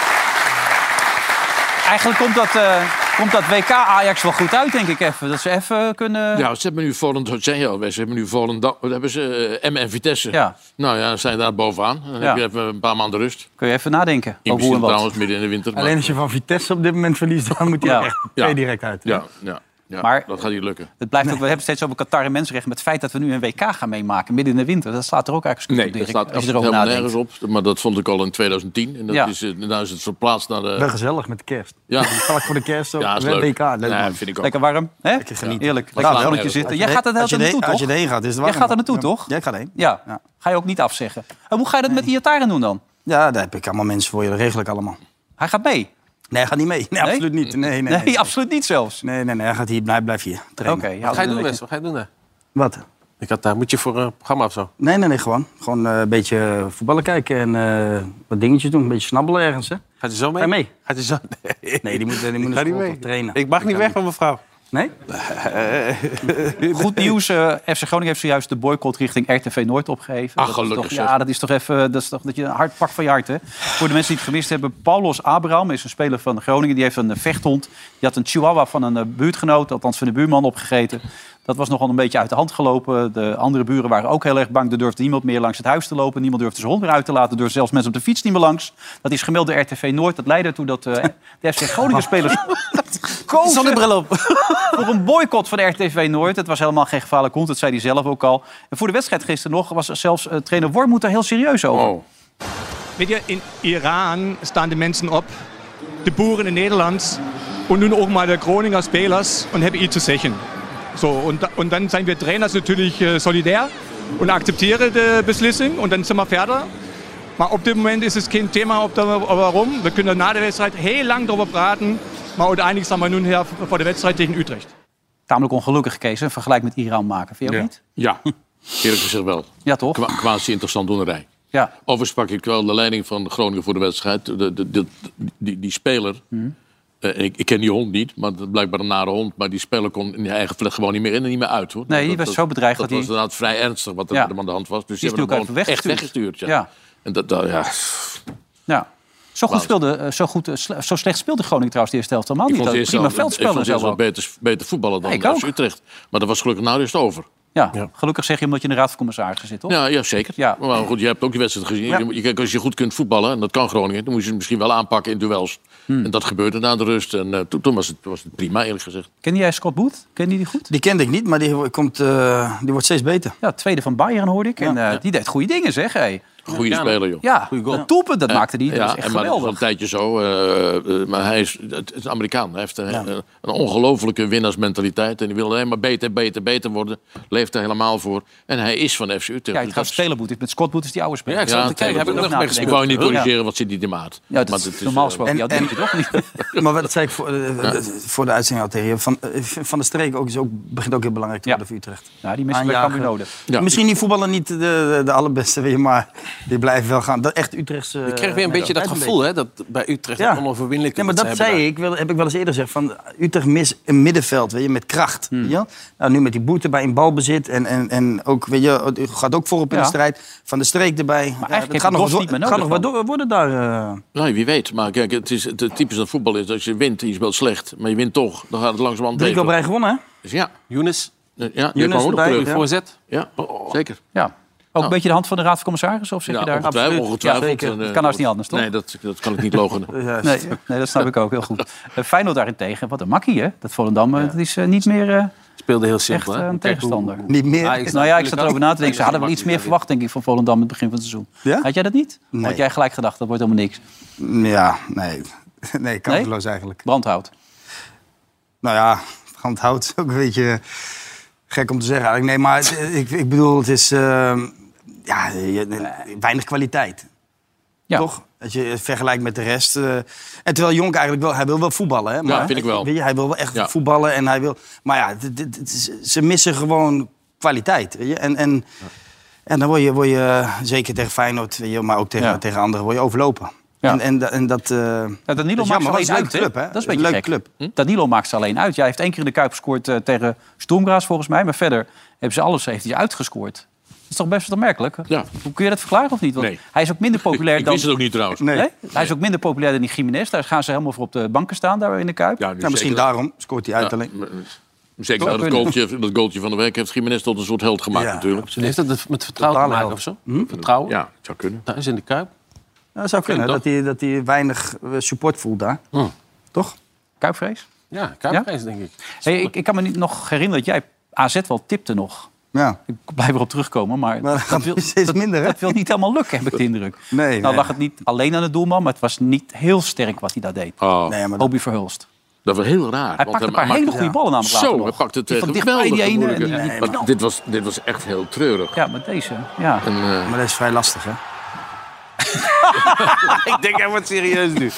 Eigenlijk komt dat, eh, komt dat WK Ajax wel goed uit, denk ik even. Dat ze even kunnen... Ja, ze hebben Nou, nu Volendam, dat zei je al, Wes, ze hebben nu Volendam, wat hebben ze eh, M en Vitesse. Ja. Nou ja, dan zijn daar bovenaan. Dan Ja. heb je even een paar maanden rust. Kun je even nadenken. over In hoe principe en wat. trouwens, midden in de winter. maar- Alleen als je van Vitesse op dit moment verliest, dan moet hij Ja. er echt Ja. twee direct uit. Ja, ja, ja. Maar- dat gaat niet lukken. Het blijft ook, we hebben steeds over Qatar en mensenrechten. Maar het feit dat we nu een WK gaan meemaken midden in de winter, dat slaat er ook eigenlijk Nee, op, dat Dirk, staat als je helemaal erover nadenkt. nergens op. Maar dat vond ik al in 2010. En dat Ja. is, eh, nou is het verplaatst naar de... Wel gezellig met de kerst. Ja. Vlak voor de kerst ook. Ja, is Met leuk. WK, leuk Ja, man. vind ik ook. Lekker warm, hè? genieten. Eerlijk. Ja, Lekker ja, zonnetje ja. zitten. Als Jij je gaat er de hele heen- tijd naartoe, als toch? je erheen gaat, is het Jij warm. gaat er naartoe, toch? Ja, ik ga heen. Ja. Ga je ook niet afzeggen. En hoe ga je dat met die Iataren doen dan? Ja, daar heb ik allemaal mensen voor je, dat regel ik allemaal. Hij gaat mee? Nee, hij gaat niet mee. Nee, absoluut niet. Nee, nee, Nee, absoluut niet zelfs. Nee, nee, nee, hij gaat hier, blijf, blijf hier. trainen. Wat ga je doen, Wes? Wat ga je doen daar? Wat? Ik had daar, moet je voor een programma of zo? Nee, nee, nee, gewoon. Gewoon eh, een beetje voetballen kijken en eh, wat dingetjes doen. Een beetje snabbelen ergens, hè. Gaat je zo mee? Ga je mee? Gaat je zo? Nee, Nee, die moet, eh, die moet Ik naar ga niet school mee. toch trainen. Ik mag Dat niet kan weg van mevrouw. Nee? Goed nieuws. eh, FC Groningen heeft zojuist de boycott richting RTV Noord opgeheven. Ach, Dat is Ah, gelukkig toch- zeg. Ja, dat is toch even dat is toch, dat je een hard pak van je hart, hè? Voor de mensen die het gemist hebben. Paulos Abraham is een speler van Groningen. Die heeft een eh, vechthond. Die had een chihuahua van een eh, buurtgenoot, althans van de buurman, opgegeten. Dat was nogal een beetje uit de hand gelopen. De andere buren waren ook heel erg bang. Er durfde niemand meer langs het huis te lopen. Niemand durfde zijn hond meer uit te laten. Er durfden zelfs mensen op de fiets niet meer langs. Dat is gemeld door RTV Noord. Dat leidde ertoe dat eh, de FC Groningen spelers gekozen voor een boycott van RTV Noord. Het was helemaal geen gevaarlijk hond, dat zei hij zelf ook al. En voor de wedstrijd gisteren nog was zelfs eh, trainer Wormoed daar heel serieus over. Oh, Weet je, in Iran staan de mensen op, de boeren in Nederland en nu ook maar de Groninger spelers en hebben iets te zeggen. So, und, und dann sind wir Trainers natürlich äh, solidär und akzeptieren die Beschlüsse und dann sind wir fertig. Aber ab dem Moment ist es kein Thema, ob da, warum. Wir können dann nach der Website hey, lang darüber praten. Mal und einiges haben wir nun her vor der Website gegen Utrecht. Tamelijk ongelukkig, Kees, een vergelijk met Iran maken. Vind je ook niet? Ja, eerlijk gezegd wel. Ja, toch? Qua, quasi interessant doenerij. Ja. Overigens pak ik wel de leiding van Groningen voor de wedstrijd. De, de, de- die, die speler, Hmm. eh, ik, ik ken die hond niet, maar dat is blijkbaar een nare hond. Maar die speler kon in de eigen vlecht gewoon niet meer in en niet meer uit. Hoor. Nee, die Dat- was dat- zo bedreigd Dat, dat was hij- inderdaad vrij ernstig wat er Ja. met hem aan de hand was. Dus Die die is hebben hem natuurlijk gewoon echt even weggestuurd. Ja. Ja. En dat, dat- ja. Ja. Zo, goed Wauw. speelde, eh, zo, goed, eh, sle- zo slecht speelde Groningen trouwens de eerste helft helemaal Ik niet. vond het Dat eerst prima wel- ik vond veldspelen het eerst zelf wel ook. beter, beter voetballen dan Ik FC ook. Utrecht. Maar dat was gelukkig nou eerst over. Ja. Gelukkig zeg je omdat je in de raad van commissarissen zit, toch? Ja, ja zeker. Maar goed, je hebt ook die wedstrijd gezien. Ja. Je, kijk, als je goed kunt voetballen, en dat kan Groningen, dan moet je het misschien wel aanpakken in duels. Hmm. En dat gebeurde na de rust. En eh, toen, toen was, het, was het prima, eerlijk gezegd. Ken jij Scott Booth? Ken je die goed? Die kende ik niet, maar die, komt, eh, die wordt steeds beter. Ja, tweede van Bayern hoorde ik. En eh, die deed goede dingen, zeg. Hey. Goede speler, joh. Ja, dat toepen, dat Eh, maakte die. Dat ja, was echt en maar dat is geweldig. al een tijdje zo. eh, eh, maar hij is, het het is een Amerikaan. Hij heeft een, eh, een ongelofelijke winnaarsmentaliteit. En die wil alleen maar beter, beter, beter worden. Leeft er helemaal voor. En hij is van FC Utrecht. Kijk, het gaat spelen Booth. is Met Scott Booth is die oude speler. Ja, Ik wou je niet corrigeren, want zit niet in de maat. Ja, dat Maar is dit normaal eh, gesproken. Ja, dat denk je toch niet? Maar wat zei ik voor, eh, eh, voor de uitzending al tegen je? Van, eh, van de streek ook, is ook, begint ook heel belangrijk te worden voor Utrecht. Ja, Nou, die missen bij Aanjagen. Cambuur nodig. Ja. Misschien die voetballen niet de, de, de allerbeste weer, maar die blijven wel gaan. Dat echt Utrechtse... eh, Ik kreeg weer een beetje dat gevoel hè, dat bij Utrecht Ja. een onoverwinnelijke Ja, maar dat mensen zei hebben ik, wel- heb ik wel eens eerder gezegd. Van Utrecht mis een middenveld, weet je, met kracht. Hmm. Weet je? wel? Nou, nu met die boete bij een balbezit en, en, en ook, weet je, het gaat ook voorop in Ja. de strijd. Van de streek erbij. Ja, eigenlijk het heeft gaat nog, Dost wel- niet meer het gaat nog nodig wat door- worden daar. eh. Nou, wie weet. Maar kijk, het, is, het typisch dat voetbal is. Als je wint en je speelt slecht, maar je wint toch, dan gaat het langzamerhand Drie keer op beter. rij gewonnen, hè? Dus ja. eh, Younes. Ja, die kwam Younes ook nog erbij, terug. ja. Voorzet. Ja, zeker. Ja. Ook een beetje de hand van de raad van commissarissen? Of zeg Ja, je daar? ongetwijfeld. ongetwijfeld. Ja, zeker. En, eh, Dat kan als niet anders, toch? Nee, dat, dat kan ik niet logen. Nee, nee, dat snap ik ook heel goed. Eh, Feyenoord daarentegen, wat een makkie, hè? Dat Volendam, eh, dat is eh, niet meer eh, speelde heel echt simpel. eh, hè. Ah, een Kijk tegenstander. hoe- Niet meer. Ajax Nou ja, ik zat natuurlijk erover na te denken. Ze ook. hadden wel iets meer verwacht, denk ik, van Volendam in het begin van het seizoen. Had jij dat niet? Of Had jij gelijk gedacht, dat wordt helemaal niks? Ja, nee. Nee, kansloos eigenlijk. Brandhout. Nou ja, brandhout is ook een beetje eh, gek om te zeggen eigenlijk. Nee, maar het- ik, ik bedoel, het is ehm, ja, je- weinig kwaliteit. Toch? Als je het vergelijkt met de rest. eh, en terwijl Jonk eigenlijk wel, hij wil wel voetballen. Hè? Maar vind ik wel. Weet je, hij wil wel echt Ja. voetballen. En hij wil, maar ja, dit- dit- dit is- ze missen gewoon kwaliteit. Weet je? En, en, en dan word je, word je, zeker tegen Feyenoord, weet je, maar ook tegen, Ja. tegen anderen, word je overlopen. Ja. En, en, da- en dat... eh, Ja, Nou, Danilo is maakt ze jammer, want het alleen is een uit. leuke club, hè? Dat is een Een beetje leuke gek. club. Hm? Danilo maakt ze alleen uit. Ja, hij heeft één keer in de Kuip gescoord eh, tegen Stoomgraas, volgens mij. Maar verder hebben ze alles heeft hij uitgescoord. Dat is toch best wat opmerkelijk? Hoe kun je dat verklaren of niet? Want hij is ook minder populair Ik dan... wist het ook niet trouwens. Nee. Hij is ook minder populair dan die Jiménez. Daar gaan ze helemaal voor op de banken staan, daar in de Kuip. Ja, nu Nou, misschien zeker. daarom scoort hij uit alleen. Zeker Zou dat kunnen. goaltje, dat goaltje van de week heeft Jiménez tot een soort held gemaakt Ja, natuurlijk. Heeft dat het met vertrouwen te Totale maken of zo? Vertrouwen? Hm? Ja, het zou kunnen. Thuis in de Kuip. Nou, dat zou kunnen, Ken dat hij, dat hij weinig eh, support voelt daar. Toch? Kuipvrees? Ja, Kuiprijs denk ik. Hey, ik, ik kan me niet nog herinneren dat jij AZ wel tipte nog. Ja. Ik blijf erop terugkomen, maar, Maar dat gaat steeds minder, hè? dat wil niet helemaal lukken, heb ik de indruk. Nee, nou nee. lag het niet alleen aan de doelman, maar het was niet heel sterk wat hij daar deed. Oh, Nee, maar dat- Hobby Verhulst. dat was heel raar. Hij pakte een paar hele goede ballen namelijk later Zo, nog. hij pakte Die tegen van dichtbij die ene en die- die- Maar dit was, dit was echt heel treurig. Ja, maar deze. Ja. En, eh, Maar dat is vrij lastig, hè? ik denk, hij wordt serieus nu.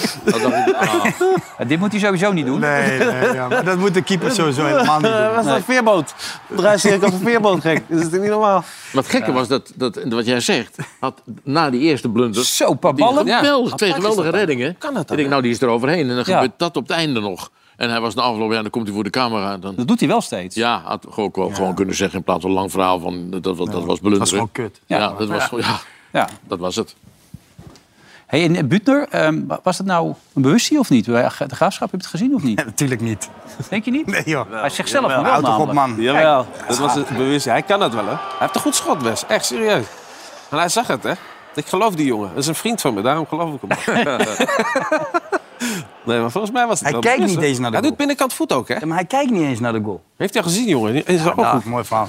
Ja, dit moet hij sowieso niet doen. Nee, nee, ja, maar dat moet de keeper sowieso helemaal niet doen. Dat is een veerboot. Draai zich op een veerboot, gek. Dat is niet normaal. Wat gekke was dat, dat, wat jij zegt, had na die eerste blunder... Zo, paar die ballen. geweldig- Ja, twee apart is geweldige dat dan. reddingen. Kan dat dan, Ik denk, nou, die is er overheen. En dan Ja. gebeurt dat op het einde nog. En hij was na afloop, ja, dan komt hij voor de camera. Dan, Dat doet hij wel steeds. ja, had gewoon, gewoon, gewoon kunnen zeggen in plaats van een lang verhaal van dat, dat, dat was blunder. Dat is gewoon kut. Ja, Ja. dat, was, ja, Ja. dat was het. Hey, en Butner, ehm, wa- was dat nou een bewustzijn of niet? Bij De graafschap, heb je het gezien of niet? Natuurlijk niet. Denk je niet? Nee, joh. Hij zegt zelf wel Houd toch op, namelijk. man. Jawel, dat was het bewust. Hij kan dat wel, hè? Hij heeft een goed schot, Wes. Echt serieus. En hij zag het, hè? Ik geloof die jongen. Dat is een vriend van me, daarom geloof ik hem. Nee, maar volgens mij was het Hij wel kijkt bewust, niet hoor. eens naar de Hij doet binnenkant voet ook, hè? maar hij kijkt niet eens naar de goal. Heeft hij gezien, jongen? Is ook goed. Mooi verhaal.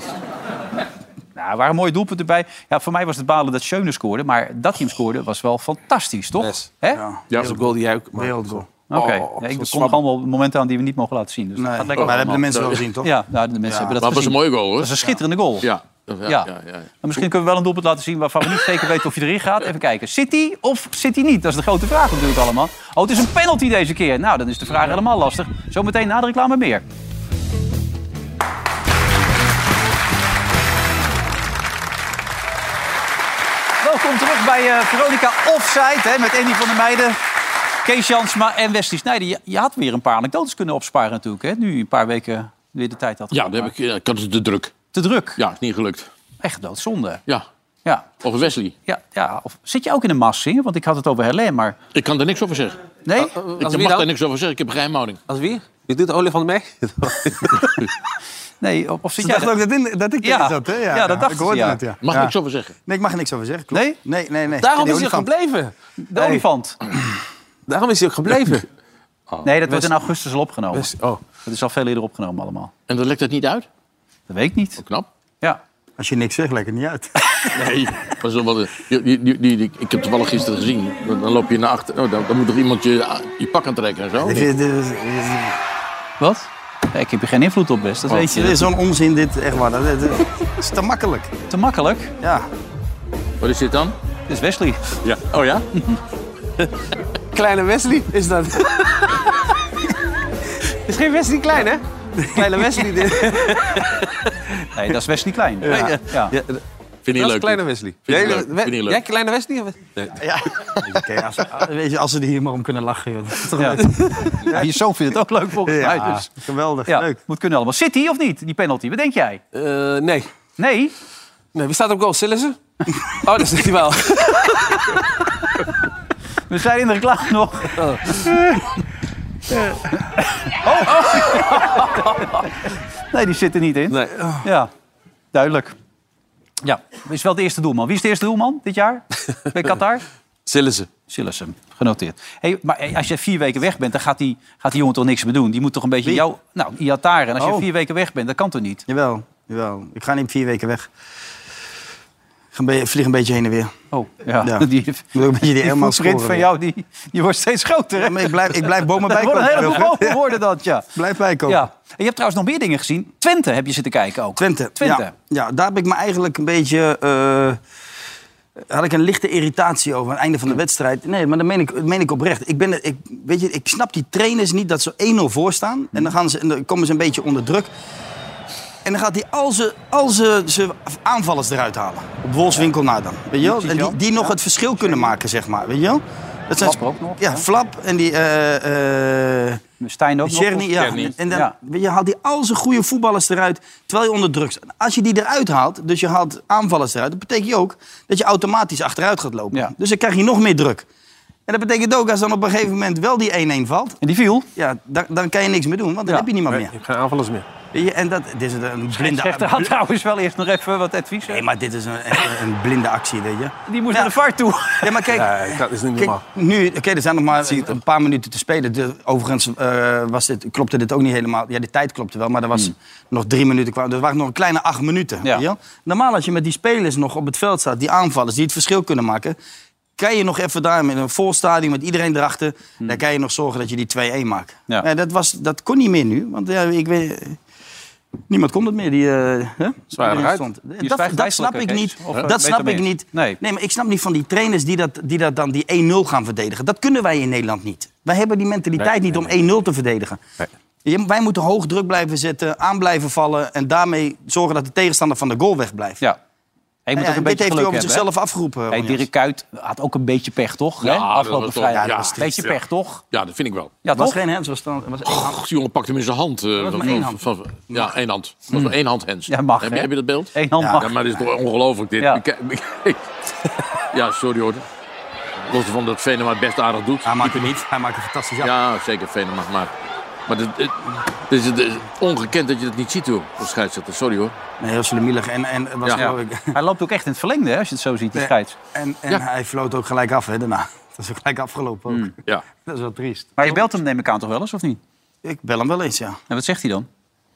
Nou, er waren mooie doelpunten bij. Ja, voor mij was het balen dat Schöne scoorde. Maar dat hij hem scoorde was wel fantastisch, toch? Hè? Ja, dat is een goal die jij ook maakt. Wereldgoal. Oké, Oh, Nee, ik zo'n kom nog allemaal momenten aan die we niet mogen laten zien. Dus dat Nee, gaat maar lekker dat hebben de allemaal. mensen wel gezien, toch? Ja, nou, de mensen Ja. hebben dat Maar het was gezien. een mooie goal, hoor. Dat is een schitterende goal. Ja. Ja. Ja, ja, ja. Maar misschien kunnen we wel een doelpunt laten zien waarvan we niet zeker weten of je erin gaat. Even kijken. Zit hij of zit hij niet? Dat is de grote vraag natuurlijk allemaal. Oh, het is een penalty deze keer. Nou, dan is de vraag helemaal lastig. Zometeen na de reclame meer. Welkom terug bij eh, Veronica Offside hè, met Andy van der Meijden. Kees Jansma en Wesley Snijder. Je, je had weer een paar anekdotes kunnen opsparen natuurlijk. Hè? Nu je een paar weken weer de tijd had. Ja, dan heb ik, ja, ik had het te druk. Te druk? Ja, is niet gelukt. Echt doodzonde. Ja. ja. Of Wesley. Ja, ja. Of, zit je ook in een mas zingen? Want ik had het over Helen, maar... Ik kan er niks over zeggen. Nee? ik mag daar niks over zeggen. Ik heb geheimhouding. Als wie? Je doet Ole van de Meg? nee, of Ze dacht ook dat, in- dat ik Ja. dit zat, hè? Ja, dat dacht ik. ze, hoorde ja. het, ja. Mag ja. niks over zeggen? Nee, ik mag er niks over zeggen. Klopt. Nee? Nee, nee, nee. Daarom Die is hij olifant. gebleven. De olifant. Daarom is hij ook gebleven. nee, dat wordt Wes- in augustus al opgenomen. oh. Dat is al veel eerder opgenomen allemaal. En dat lekt het niet uit? Dat weet ik niet. knap. Ja. Als je niks zegt, lekker niet uit. Nee, maar zo wel, die, die, die, die- die- ik heb toevallig gisteren gezien. Dan, dan loop je naar achter. Oh, dan, dan moet toch iemand je, je pak aantrekken en zo? Dit is- dit is- dit is- Wat? Nee, ik heb er geen invloed op, best. Dat Oh, weet je. dit is zo'n onzin, dit. Echt waar. Dat, dat- dat- dat is te makkelijk. Te makkelijk? Ja. Wat is dit dan? Dit is Wesley. Ja. Oh ja? Kleine Wesley is dat. is geen Wesley klein, hè? Kleine Wesley. Dit. Nee, dat is Wesley Klein. Ja. Ja. Vind dat je is leuk? kleine Wesley. Vind je Jij- leuk? we- Vind je leuk? Jij kleine Wesley? of- Ja. Oké, als, weet je, als ze er hier maar om kunnen lachen, joh. Dat is toch Ja. leuk. Ja, je zoon vindt het ook leuk volgens Ja, mij. Dus. geweldig. Ja, Moet kunnen allemaal. Zit hij of niet, die penalty? Wat denk jij? Eh, nee. Nee? Nee, wie staat op goal? Sillissen? Oh, dat is niet wel. We zijn in de reclame nog. Nee, die zit er niet in. Ja, duidelijk. Ja, is wel de eerste doelman. Wie is de eerste doelman dit jaar bij Qatar? Sillissen. Sillissen, genoteerd. Hey, maar als je vier weken weg bent, dan gaat die, gaat die jongen toch niks meer doen? Die moet toch een beetje Wie? jou... Nou, Iataren. En als je Oh. vier weken weg bent, dat kan toch niet? Jawel, jawel. Ik ga niet vier weken weg. Ik ga een be- vlieg een beetje heen en weer. Oh, ja. Ja. Die, Moet ook een beetje die helemaal footprint van jou, die, die wordt steeds groter. Hè? ik blijf, ik blijf bomen Dat worden een bijkomen. heleboel Wilfred. bomen worden dat, ja. Blijf bijkomen. ja. En je hebt trouwens nog meer dingen gezien. Twente heb je zitten kijken ook. Twente. Twente. Ja, ja, daar heb ik me eigenlijk een beetje... eh, had ik een lichte irritatie over aan het einde van de wedstrijd. Nee, maar dat meen ik, dat meen ik oprecht. Ik, ben, ik, weet je, ik snap die trainers niet dat ze 1-0 voor staan. En dan, gaan ze, en dan komen ze een beetje onder druk. En dan gaat hij al ze, al ze, ze aanvallers eruit halen. Op Wolfswinkel na dan. Weet je wel? En die, die nog het verschil kunnen maken, zeg maar. Weet je wel? Dat zijn Flap ook nog, Ja, Flap en die... eh eh, Stijn ook nog. Tjerni, ja. Tjerni. En dan, Ja. weet Je haalt die al zijn goede voetballers eruit, terwijl je onder druk staat. Als je die eruit haalt, dus je haalt aanvallers eruit... dat betekent je ook dat je automatisch achteruit gaat lopen. Ja. Dus dan krijg je nog meer druk. En dat betekent ook, als dan op een gegeven moment wel die 1-1 valt... En die viel. ja, dan, dan kan je niks meer doen, want dan heb je niemand meer. Ik heb geen aanvallers meer. Weet je, En dat dit is een blinde... Scheidsrechter had trouwens wel eerst nog even wat advies. Nee, maar dit is een, echt een blinde actie, weet je. Die moest naar de VAR toe. Ja, maar kijk, Nee, dat is niet Kijk, normaal. nu, oké, er zijn nog maar een, paar minuten te spelen. De- overigens eh, was dit, klopte dit ook niet helemaal. Ja, de tijd klopte wel, maar er Hmm. was nog drie minuten. kwamen. Er waren nog een kleine acht minuten. weet je wel? Normaal als je met die spelers nog op het veld staat, die aanvallers, die het verschil kunnen maken... kan je nog even daar met een vol stadion, met iedereen erachter... Hmm. dan kan je nog zorgen dat je die 2-1 maakt. Ja. Maar dat, was, dat kon niet meer nu, want ja, ik weet... Niemand kon het meer, die... eh hè? Zwaar eruit. Stond. Je Dat, zwijgt dat snap wijselijk, ik Kees. niet. Of, eh, dat weet snap ermee. ik niet. Nee. Nee, maar ik snap niet van die trainers die dat, die dat dan die 1-0 gaan verdedigen. Dat kunnen wij in Nederland niet. Wij hebben die mentaliteit Nee, niet nee, om 1-0 te verdedigen. Je- Wij moeten hoog druk blijven zetten, aan blijven vallen... en daarmee zorgen dat de tegenstander van de goal wegblijft. Ja. Hij moet Nou ja, toch een en beetje dit heeft hij geluk over hebben, hè? zichzelf afgeroepen. Hey, Ronjas. Dirk Kuyt had ook een beetje pech, toch? hè? Ja, dat Afgelopen was toch- vrijdag. ja, dat is beetje triest, ja. pech, toch? Ja, dat vind ik wel. Ja, Het was toch? geen hands, het was dan- het was één hand. Och, die jongen pakt hem in zijn hand. eh, was van- maar één van- hand. van- ja, één hand. Dat was maar één hand, Hens. Ja, mag, heb, hè? je, heb je dat beeld? Eén hand ja, mag. Ja, maar dit is toch ongelooflijk, dit. Ja. Ik- ik- ja, sorry hoor. Los van dat Venema het best aardig doet. Hij maakt Diepe het niet. Hij maakt het fantastisch af. Ja, zeker, Venema. Maar, maar dit, dit- dit is, dit is ongekend dat je dat niet ziet, hoor. Als scheidsrechter, sorry hoor. Nee, heel slemielig. En, en, het was Ja. geloof ik- Hij loopt ook echt in het verlengde, hè, als je het zo ziet, die scheids. en, en Ja. hij floot ook gelijk af hè, daarna. Dat is ook gelijk afgelopen Hmm. ook. Ja. Dat is wel triest. Maar je belt hem neem ik aan toch wel eens, of niet? Ik bel hem wel eens, ja. En wat zegt hij dan?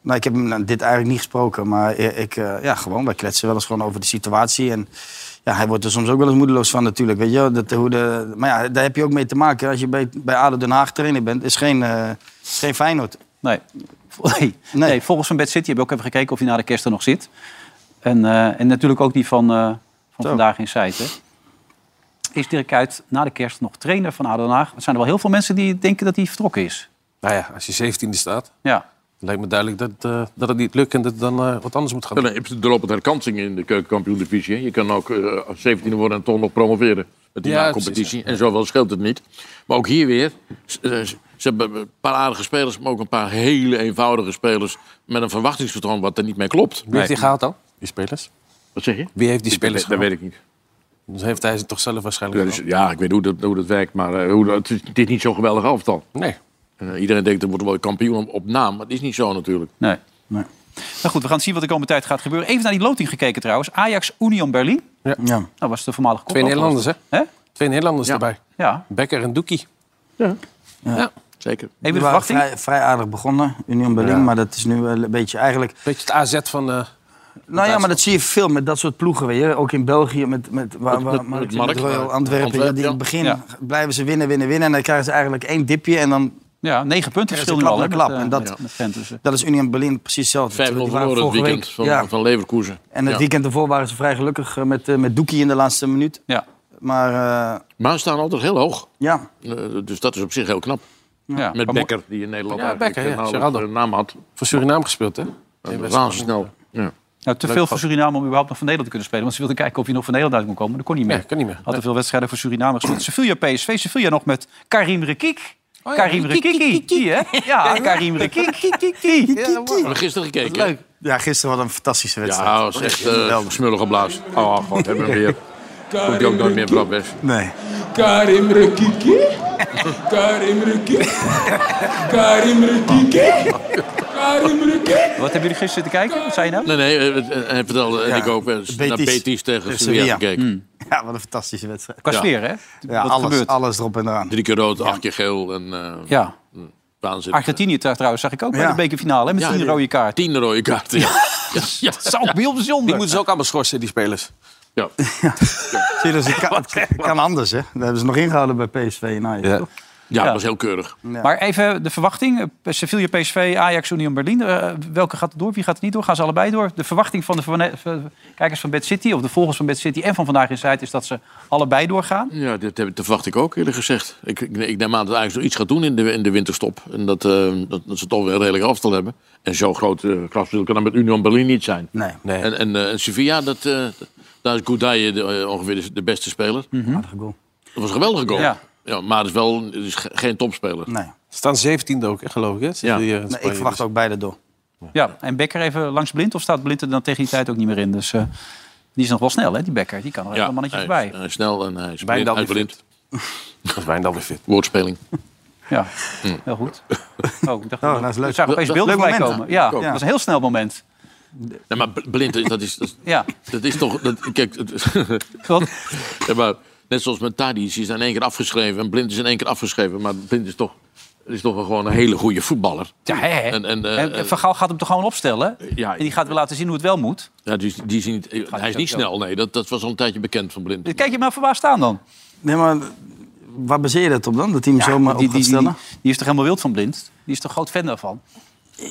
Nou, ik heb hem nou, dit eigenlijk niet gesproken, maar i- ik, eh, ja, gewoon, wij kletsen wel eens gewoon over de situatie. En ja, hij wordt er soms ook wel eens moedeloos van natuurlijk, weet je wel. dat, hoe de, Maar ja, daar heb je ook mee te maken. Als je bij, bij ADO Den Haag trainer bent, is geen, eh, is geen Feyenoord. Nee. Nee. nee, volgens van Bed City hebben we ook even gekeken of hij na de kerst er nog zit. En, eh, en natuurlijk ook die van, eh, van vandaag in site. hè. Is Dirk Kuyt na de kerst nog trainer van ADO Den Haag? Er zijn er wel heel veel mensen die denken dat hij vertrokken is. Nou ja, als je 17e staat, Ja. lijkt me duidelijk dat, eh, dat het niet lukt en dat het dan eh, wat anders moet gaan. Ja, nee, er lopen herkansingen in de keukenkampioen-divisie. hè. Je kan ook eh 17e worden en toch nog promoveren met die Ja, na-competitie. En zoveel scheelt het niet. Maar ook hier weer, s- eh, s- ze hebben een paar aardige spelers... maar ook een paar hele eenvoudige spelers... met een verwachtingspatroon wat er niet mee klopt. Wie heeft die gehaald dan? Die spelers? Wat zeg je? Wie heeft die spelers Dat weet gehaald? ik niet. Dan heeft hij ze toch zelf waarschijnlijk Ja, dus- ja, ik weet hoe dat, hoe dat werkt, maar eh, hoe dat, het is- het is niet zo'n geweldig elftal. Nee. Eh, iedereen denkt, er wordt wel kampioen op, op naam, maar dat is niet zo natuurlijk. Nee. Nou goed, we gaan zien wat de komende tijd gaat gebeuren. Even naar die loting gekeken trouwens. Ajax Union Berlin. Ja. Nou was de voormalige Twee koploper. Nederlanders, hè? Hè? Twee Nederlanders erbij. Ja. Becker en Doekie. Ja. Ja. Zeker. We waren Vrij, vrij aardig begonnen, Union Berlin, Ja. maar dat is nu wel een beetje eigenlijk... Beetje het AZ van... eh, Nou ja, maar dat zie je veel met dat soort ploegen. Weet je? Ook in België met, met, waar, Met- waar, met- Mark- met Mark, met Royal eh, Antwerpen. Antwerpen, ja, die in ja. het begin Ja. blijven ze winnen, winnen, winnen. En dan krijgen ze eigenlijk één dipje en dan... Ja, negen punten Ja, dat is verschil een nu al. klap hè, na klap. met, eh, En dat- met- met Gent, dus, eh. Dat is Union Berlin precies hetzelfde. 5-0 Die waren verloren het vorige weekend week- van, ja. van Leverkusen. En het Ja. weekend ervoor waren ze vrij gelukkig eh, met, eh, met Doekie in de laatste minuut. Ja. Maar eh, Maar ze staan altijd heel hoog. ja, Eh, dus dat is op zich heel knap. Ja. Nou, Met Maar Becker, die in Nederland Ja, eigenlijk Becker, ja, nauwelijks Gerrardo. een naam had. voor Suriname gespeeld, hè? Die wedstrijd. Razendsnel. Ja. Nou, te Leuk veel gehad. voor Suriname om überhaupt nog van Nederland te kunnen spelen. Want ze wilden kijken of je nog van Nederland uit kon komen. Dat kon niet meer. Nee, kan niet meer. Had te veel wedstrijden voor Suriname gespeeld. Sevilla PSV, Sevilla nog met Karim Rekik. Oh ja, Karim Rekik, Rekiki. Die, hè? Ja, Karim Rekik. We hebben gisteren gekeken. hè? ja, gisteren wat een fantastische wedstrijd. Ja, dat was echt eh smullig geblazen. Oh, god, hebben we hem weer. Komt die ook nooit meer van best. Nee. Karim Rekiki. Karim Rekiki. Karim Rekiki. Karim Rekiki. Wat hebben jullie gisteren te kijken? Wat zei je nou? Nee, nee, eh, eh, hij vertelde, en Ja, ik ook, eh, naar Betis. Betis tegen Tegen Sevilla Sevilla. gekeken. Ja, wat een fantastische wedstrijd. Qua Ja. sfeer, hè? Ja, Wat alles, gebeurt? alles erop en eraan. Drie keer rood, acht keer geel en eh Ja. waanzin. Argentinië trouw- trouwens zag ik ook bij Ja. de bekerfinale. hè, Met Ja, tien ja. rode kaart. Tien rode kaarten. Ja. Ja. Ja. Dat is ook heel Die bijzonder. moeten ze ook allemaal schorsen, die spelers. Ja. Zie je, dus het kan, het kan- het kan anders, hè? Dat hebben ze nog ingehouden bij PSV en Ajax. Ja. toch? Ja, Ja. dat was heel keurig. Ja. Maar even de verwachting. Eh, Sevilla, PSV, Ajax, Union Berlin. Eh, welke gaat er door? Wie gaat er niet door? Gaan ze allebei door? De verwachting van de van- van- kijkers van Bad City... of de volgers van Bad City en van Vandaag in Zuid... is dat ze allebei doorgaan. Ja, dat, heb- dat verwacht ik ook eerlijk gezegd. Ik, ik, ik neem aan dat Ajax nog iets gaat doen in de, in de winterstop. En dat, eh, dat, dat ze toch weer een redelijk aftal hebben. En zo'n groot eh krachtsverschil kan dat met Union Berlin niet zijn. Nee. Nee. En, en, eh, en Sevilla, dat, eh, daar is Goudaille de, eh, ongeveer de, de beste speler. Aardige goal. Dat was een geweldige goal. Ja. Ja. maar het is wel het is ge- geen topspeler. Nee. Ze staan 17e ook, hè, geloof ik. Hè? Ja. Die, eh, Nee, Spanje. ik verwacht ook beide door. Ja, en Becker even langs Blind. Of staat Blind er dan tegen die tijd ook niet meer in? Dus eh, die is nog wel snel, hè, die Becker. Die kan er even een mannetje hij is- voorbij. hij is snel en hij is blind, Wijndal hij is weer blind. Dat is Wijndal weer fit. Woordspeling. eh, Ja, hm. heel goed. Oh, ik dacht, Oh, dat is leuk. Ik zag opeens Leuk beelden voorbij moment, komen. Ja, Ja. dat was een heel snel moment. Nee, maar bl- blind, is- dat is, dat, is- Ja, dat is toch... Dat, kijk, het- klopt. Ja, maar net zoals met Tadic, die is in één keer afgeschreven. En Blind is in één keer afgeschreven. Maar Blind is toch, is toch gewoon een hele goede voetballer. Ja, hè, hè. En, en, eh, En Van Gaal gaat hem toch gewoon opstellen? Ja. En die gaat weer laten zien hoe het wel moet. ja, die, is- die is niet, eh, hij is niet snel, nee. Dat, dat was al een tijdje bekend van Blind. Dus Kijk je maar verbaasd aan dan. Nee, maar waar baseer je dat op dan? Dat hij hem zomaar op die, gaat die, die, stellen? die is toch helemaal wild van blind? Die is toch groot fan daarvan?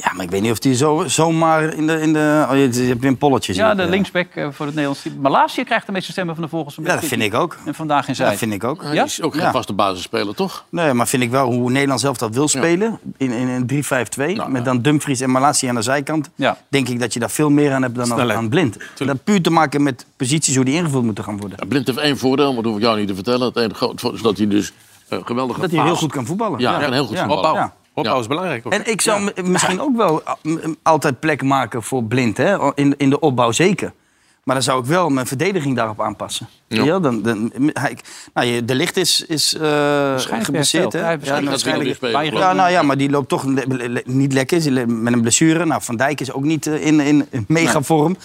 Ja, maar ik weet niet of hij zo, zomaar in de... In de oh, je, je hebt weer een polletje. zie Ja, ik, de linksback eh, voor het Nederlands team. Malasia krijgt de meeste stemmen van de volgers. van Ja, dat Bad vind City. ik ook. En vandaag in Ja, zijn. dat vind ik ook. Hij Ja? is ook Ja. geen vaste basisspeler, toch? Nee, maar vind ik wel hoe Nederland zelf dat wil spelen. In, in, in 3-5-2. Nou, met dan Dumfries en Malasia aan de zijkant. Ja. Denk ik dat je daar veel meer aan hebt dan aan- aan blind. Dat heeft puur te maken met posities hoe die ingevuld moeten gaan worden. Ja, Blind heeft één voordeel, maar dat hoef ik jou niet te vertellen. Het ene groot voordeel is dat hij dus eh, geweldig Dat hij heel goed kan voetballen. Ja, hij kan heel goed voetballen. Opbouw. Ja. Opbouw is belangrijk. Hoor. En ik zou m- misschien ook wel a- m- altijd plek maken voor blind. Hè? In, in de opbouw zeker. Maar dan zou ik wel mijn verdediging daarop aanpassen. Ja. dan, dan, m- hij, nou, je- de licht is, is eh, geblesseerd. hersteld. Hè? Hij heeft Ja, waarschijnlijk- Hij gaat weer waarschijnlijk- niet spelen, Bayern- geloof Ja, ik. nou ja, maar die loopt toch le- le- le- niet lekker. Ze le- Met een blessure. Nou, Van Dijk is ook niet eh, in, in mega vorm.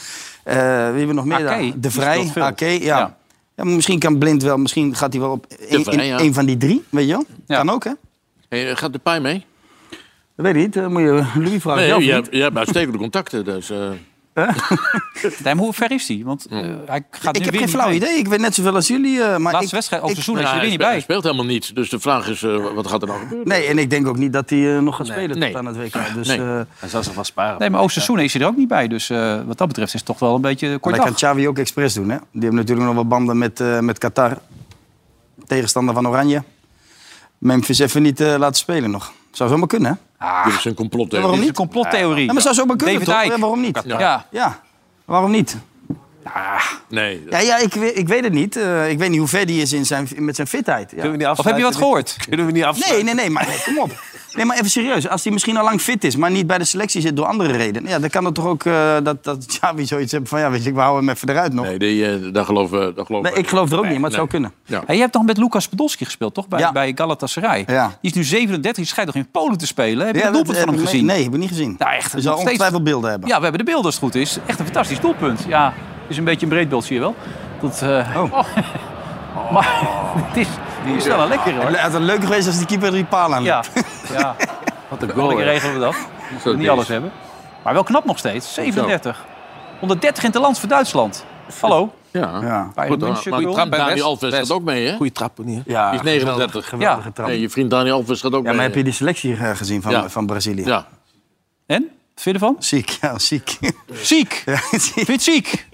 Eh, wie hebben we nog meer Ake, daar? De die Vrij, speelt veel. Ake, ja. Ja. ja. Ja, maar misschien kan Blind wel, misschien gaat hij wel op een, vrij, in- ja. een van die drie, weet je wel? Kan ook, hè? Hey, eh, gaat de pijn mee? Dat weet ik niet, eh, moet je Louis vragen. zelf Nee, jij, niet. hebt- jij hebt uitstekende contacten. Dus, eh, Nee, maar hoe ver is hij? Want eh, hij gaat Ik nu heb weer geen niet flauw mee. idee, ik weet net zoveel als jullie. eh, maar Laatste ik, wedstrijd, over ik- seizoen, hij is er hij, weer niet speelt, hij bij. speelt helemaal niet. Dus de vraag is, eh, wat gaat er nou gebeuren? Nee, en ik denk ook niet dat hij eh, nog gaat spelen tot Nee. aan het WK. Dus, Nee. eh, Hij zal zich wel sparen. Nee, maar Oosterseizoen is hij er ook niet bij. Dus eh, wat dat betreft is het toch wel een beetje Maar kort dat dag. kan Xavi ook expres doen. Hè? Die hebben natuurlijk nog wel banden met, eh, met Qatar. Tegenstander van Oranje. Memphis even niet eh, laten spelen nog. Zou zomaar kunnen, hè? Dit is een complottheorie. Ah. waarom niet? complottheorie. Ja, maar zou zomaar kunnen, David toch? Eyck. Ja, waarom niet? Qatar. Ja. ja. Waarom niet? Nee. Ja, ja ik, we- ik weet het niet. Eh, ik weet niet hoe ver die is in zijn, met zijn fitheid. Ja. Kunnen we niet Of heb je wat gehoord? Kunnen we niet Nee, nee, nee, maar nee, kom op. Nee, maar even serieus. Als hij misschien al lang fit is, maar niet bij de selectie zit door andere redenen. Ja, dan kan het toch ook eh, dat, dat Xavi zoiets heeft van... Ja, weet je, we houden hem even eruit nog. Nee, die, eh, daar geloof, eh, daar geloof Nee, ik geloof er ook niet, maar het zou kunnen. Ja. Hey, je hebt toch met Lucas Podolski gespeeld, toch? Bij, Ja. bij Galatasaray. Ja. Die is nu 37, die schijnt toch in Polen te spelen? Heb je Ja, het doelpunt dat van hem heb ik- gezien? Nee, heb ik niet gezien. Nou, echt. Je nog zal steeds- ongetwijfeld beelden hebben. Nou. Ja, we hebben de beelden als het goed is. Echt een fantastisch doelpunt. Ja, is een beetje een breed beeld, zie je wel. Dat, eh, Oh. Maar het is, het is wel een lekker hoor. Het had leuk geweest als die keeper die paal aan Ja, ja. Wat een goal, hè? regelen we dat. We kunnen niet alles hebben. Maar wel knap nog steeds. 37. 130 in het land voor Duitsland. Hallo. Ja. Bij Goed, München, maar bedoel. trap Bij Dani West- Alves gaat West. ook mee, hè? Goeie trap, meneer. Ja, Die is 39. geweldige trap. Nee, je vriend Dani Alves gaat ook Ja, mee. maar heb je die selectie eh, gezien van, Ja. van Brazilië? Ja. En? Wat vind je ervan? Ziek, ja, ziek. Ziek? Ja, Vind je het ziek?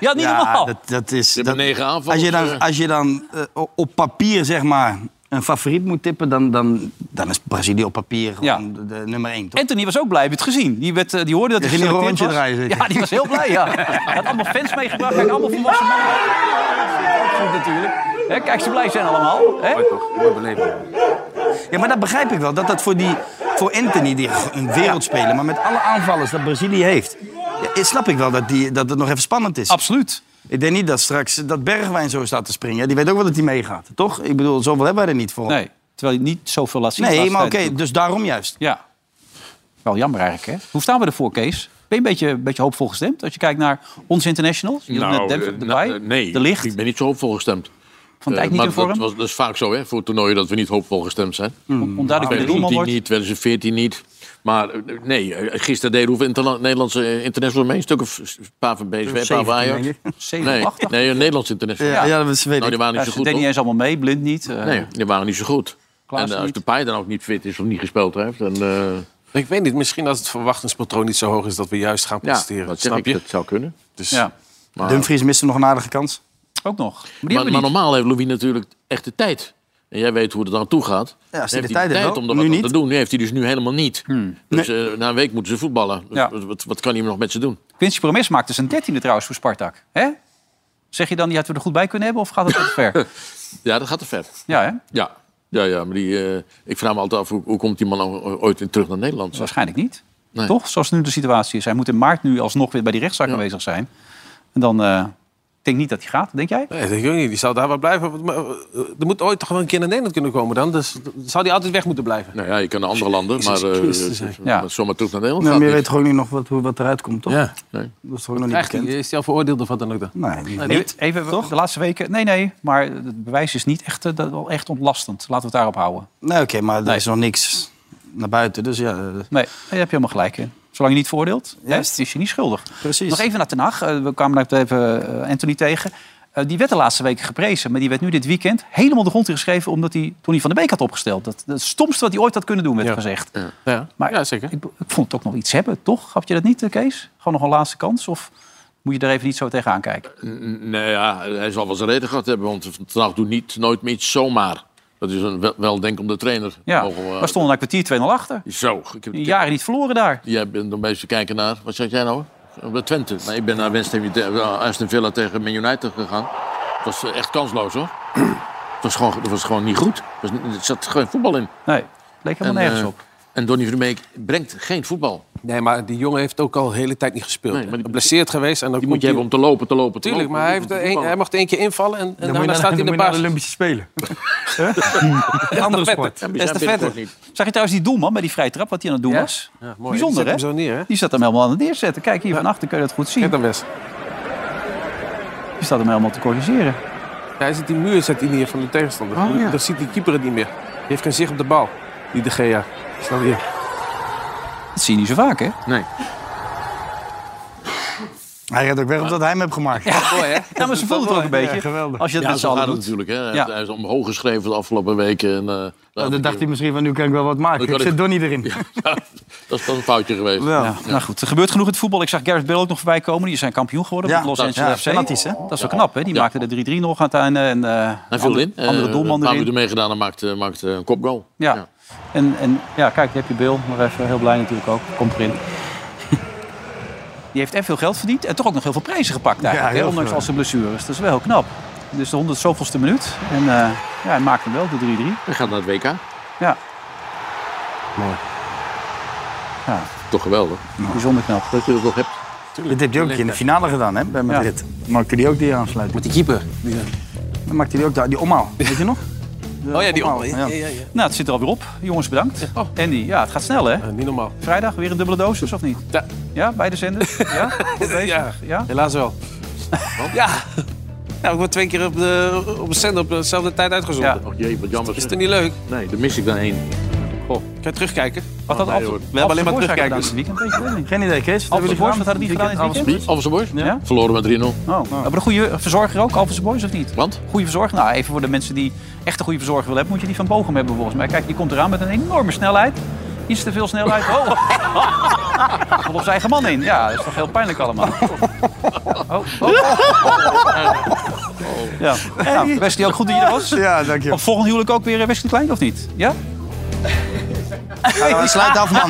Ja, niet normaal. dat, dat is... Je hebt Dat, maar negen aanvallen. als je dan, als je dan eh, o- op papier, zeg maar, een favoriet moet tippen... dan, dan, dan is Brazilië op papier Ja. gewoon de, de nummer één, toch? Anthony was ook blij, heb je het gezien? Die, werd, eh, die hoorde dat Die hij ging een geselecteerd rondje was. draaien, zeker? Ja, die was heel blij, ja. Hij had allemaal fans meegebracht, hij had allemaal volwassen mannen. Goed natuurlijk. Hè, kijk, ze blij zijn allemaal. Hè? Ja, maar dat begrijp ik wel. Dat dat voor, die, voor Anthony, die een wereldspeler... maar met alle aanvallers dat Brazilië heeft... Ja, snap ik wel dat, die, dat het nog even spannend is. Absoluut. Ik denk niet dat straks dat Bergwijn zo staat te springen. Ja, Die weet ook wel dat hij meegaat, toch? Ik bedoel, zoveel hebben wij er niet voor. Nee, terwijl je niet zoveel laat zien. de Nee, laatste maar tijd oké, dus daarom juist. Ja. Wel jammer eigenlijk, hè? Hoe staan we ervoor, Kees? Ben je een beetje, een beetje hoopvol gestemd als je kijkt naar ons internationals? Je had net Nou, Denver eh, erbij. nou, eh, nee, de licht. ik ben niet zo hoopvol gestemd. Van Dijk Eh, niet maar in vorm? Dat, was, dat is vaak zo, hè, voor toernooien, dat we niet hoopvol gestemd zijn. Mm. Onduidelijk wie de doelman 2010 wordt. niet, 2014 niet. Maar eh, nee, eh, gisteren deden hoeveel interla- Nederlandse eh, internationals mee? Een stuk of s- een paar van BSW, een paar van Ajax. denk ik. Nee, 87. nee, een Nederlands international. Ja, ja, dat is- weet nou, die waren Ja, niet ze zo deden goed, niet hoor. eens allemaal mee, blind niet. eh, Nee, die waren niet zo goed. En Klaassen eh, als niet. de paai dan ook niet fit is of niet gespeeld heeft... Dan, eh, Ik weet niet, misschien als het verwachtingspatroon niet zo hoog is... dat we juist gaan ja, presteren. dat zeg snap ik, je? dat zou kunnen. Dus, Ja, Maar, Dumfries miste nog een aardige kans. ook nog. Maar die maar, hebben we maar niet. normaal heeft Louis natuurlijk echt de tijd. En jij weet hoe het aan toe gaat. Ja, als hij heeft de tijd heeft om wel. er Nu wat aan niet. te doen. Nu heeft hij dus nu helemaal niet. Dus eh, na een week moeten ze voetballen. Hmm. Ja. Wat- Wat, wat kan hij nog met ze doen? Quincy Promes maakte zijn dertiende trouwens voor Spartak. Hè? Zeg je dan, die hadden we er goed bij kunnen hebben? Of gaat het te ver? Ja, dat gaat te ver. Ja, hè? Ja, ja, ja maar die, eh, ik vraag me altijd af, hoe, hoe komt die man nou ooit weer terug naar Nederland? Waarschijnlijk niet. Nee. Toch? Zoals nu de situatie is. Hij moet in maart nu alsnog weer bij die rechtszaak aanwezig zijn. En dan... eh, ik denk niet dat hij gaat, denk jij? Nee, dat denk ik ook niet. Die zou daar wel blijven. Want, maar, eh, Er moet ooit toch wel een keer naar Nederland kunnen komen dan. Dus dan zou die altijd weg moeten blijven. Nou ja, je kan naar andere landen, maar eh, Christus, hè. eh, Ja. maar zomaar terug naar Nederland Nou, gaat maar je niet. weet gewoon niet nog wat, hoe- wat eruit komt, toch? Ja. Nee. Dat is toch nog niet Krijgt bekend? hij, is hij al veroordeeld of wat dan ook dan? Nee, niet. Even, even de laatste weken. Nee, nee. Maar het bewijs is niet echt, eh, dat, wel echt ontlastend. Laten we het daarop houden. Nee, oké, maar er is nog niks naar buiten, dus ja... eh, Nee, daar heb je helemaal gelijk in. Zolang je niet voordeelt, hè, Juist. is je niet schuldig. Precies. Nog even naar Ten Hag. Eh, we kwamen net even eh, Anthony tegen. Eh, die werd de laatste weken geprezen. Maar die werd nu dit weekend helemaal de grond ingeschreven... omdat hij Tony van de Beek had opgesteld. Dat, dat stomste wat hij ooit had kunnen doen, werd Ja. gezegd. Ja, Maar ja zeker. Ik, ik vond het ook nog iets hebben, toch? Had je dat niet, eh, Kees? Gewoon nog een laatste kans? Of moet je er even niet zo tegenaan kijken? N- Nee, ja, hij zal wel zijn reden gehad hebben, want vandaag doet niet, nooit meer iets zomaar. Dat is een wel- weldenkende trainer. Ja, Mogen we- we stonden na een kwartier 2-0 achter. Zo, ik heb, Jaren niet verloren daar. Jij bent nog bezig te kijken naar, wat zeg jij nou? Bij Twente. Maar ik ben naar West Ham United- Aston Villa tegen Man United gegaan. Het was eh, echt kansloos hoor. Het was gewoon, het was gewoon niet goed. Het was niet- Er zat geen voetbal in. Nee, leek helemaal nergens eh, op. En Donny van de Beek brengt geen voetbal. Nee, maar die jongen heeft ook al de hele tijd niet gespeeld. Nee, maar die- Geblesseerd geweest. En dan Die moet komt je hebben om te lopen, te lopen, te Tuurlijk, lopen, maar om hij, heeft te er één- voetballen. hij mag er één keer invallen en, en moet je daarna naar- staat hij in dan de moet je naar de basis. Olympische Spelen. Hè? Andere sport. Ja, maar Des te die zijn binnenkort vetter. niet. Zag je trouwens die doelman bij die vrije trap, wat hij aan het doen Ja? was? Ja, mooi. Bijzonder, Die hè? zet hem zo neer, hè? Die staat hem helemaal aan het neerzetten. Kijk, hier van achter kun je dat goed zien. Kijk dan best. Die staat hem helemaal te corrigeren. Hij zit die muur zit in hier van de tegenstander. Oh, ja. Dan ziet die keeper het niet meer. Die heeft geen zicht op de bal. Die de Gea. Snap je? Dat zie je niet zo vaak, hè? Nee. Hij redt ook weg omdat hij hem heeft gemaakt. mooi, hè? Ja, maar ze voelt het ook een beetje. Als je dat ja, met z'n zo allen gaat het doet. natuurlijk. Hè. Ja. Hij is omhoog geschreven de afgelopen weken. En, eh, Oh, dan dacht hij misschien van nu kan ik wel wat maken. Dan Oh, Ik kan zit Donnie ik- erin. dat is pas een foutje geweest. Ja. Nou goed, er gebeurt genoeg in het voetbal. Ik zag Gareth Bale ook nog voorbij komen. Die zijn kampioen geworden Ja, met Los dat- Angeles ja, FC. penalties, hè? Dat is wel knap, hè? Die maakte de 3-3 nog aan het einde. En, eh, Hij viel andere, in. eh, Andere doelman Een paar erin. minuten meegedaan en maakt, eh, maakt eh, een kopgoal. Ja. En, en ja, kijk, daar heb je Bill. Maar even heel blij natuurlijk ook. Komt erin. Die heeft en veel geld verdiend en toch ook nog heel veel prijzen gepakt eigenlijk. Ja, hè, heel ondanks veel. al zijn blessures. Dat is wel heel knap. Dus de 100 zoveelste minuut. En eh, ja, hij maakt hem wel, de 3-3. Hij gaat naar het WK. Ja. Mooi. Ja. Toch geweldig. Bijzonder knap. Dat je dat nog hebt. Dit heb je ook in de finale gedaan, hè? Bij Madrid. Maakte die ook die aansluiting. Met die keeper. Dan maakte die ook die, die omhaal. Weet je nog? Oh ja, die omhaal, op. ja. Nou, het zit er alweer op. Jongens, bedankt. Oh. Andy, ja, het gaat snel, hè? Eh, niet normaal. Vrijdag weer een dubbele dosis, of niet? Ja. Ja, beide zenders? Ja? Goed bezig. ja? Helaas wel. ja. Nou, ik word twee keer op de, op een zender op dezelfde tijd uitgezonden. Och jee, wat jammer. Is zeg. het niet leuk? Nee, daar mis ik dan één. Goh. Kan je terugkijken? Wat had nee, Alphen- hoor. Alphen We hebben alleen maar Boys eigenlijk terugkijkers. gedaan dit weekend, weet je wel niet. Geen idee, Kees. Alphen Boys, wat hadden die gedaan in het weekend? Alphonse Boys? Ja? Verloren met 3-0. Oh, we hebben een goede verzorger ook, Alphense Boys of niet? Want? Goede verzorger? Nou, even voor de mensen die echt een goede verzorger willen hebben, moet je die van Bogum hebben volgens mij. Kijk, die komt eraan met een enorme snelheid. Iets te veel snelheid. Oh, vol op zijn eigen man in. Ja, dat is toch heel pijnlijk allemaal. Oh, oh. Ja. Nou, Wesley, ook goed dat je er was. Ja, dank je. Op volgend huwelijk ook weer eh, Wesley Klein, of niet? Ja? nou, sluit af, man.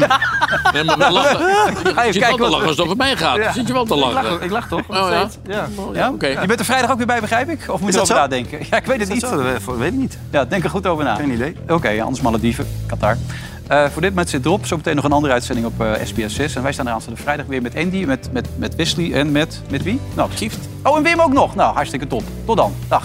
Nee, maar met lachen. Ah, Je zit wel te lachen als het over mij gaat. Ja. Zit je wel te Ik lachen. lach, ik lach toch? Oh, ja. ja. Ja, oké. Je bent er vrijdag ook weer bij, begrijp ik? Of moet je dat erover zo? nadenken? Ja, ik weet het Is niet. dat zo? Dat weet ik niet. Ja, denk er goed over na. Geen idee. Oké, anders Malediven, Qatar. Eh, voor dit moment zit het erop. Zometeen nog een andere uitzending op eh, SBS 6. En wij staan er aanstaande vrijdag weer met Andy, met, met, met Wesley en met, met wie? Nou, Kieft. Oh, en Wim ook nog. Nou, hartstikke top. Tot dan. Dag.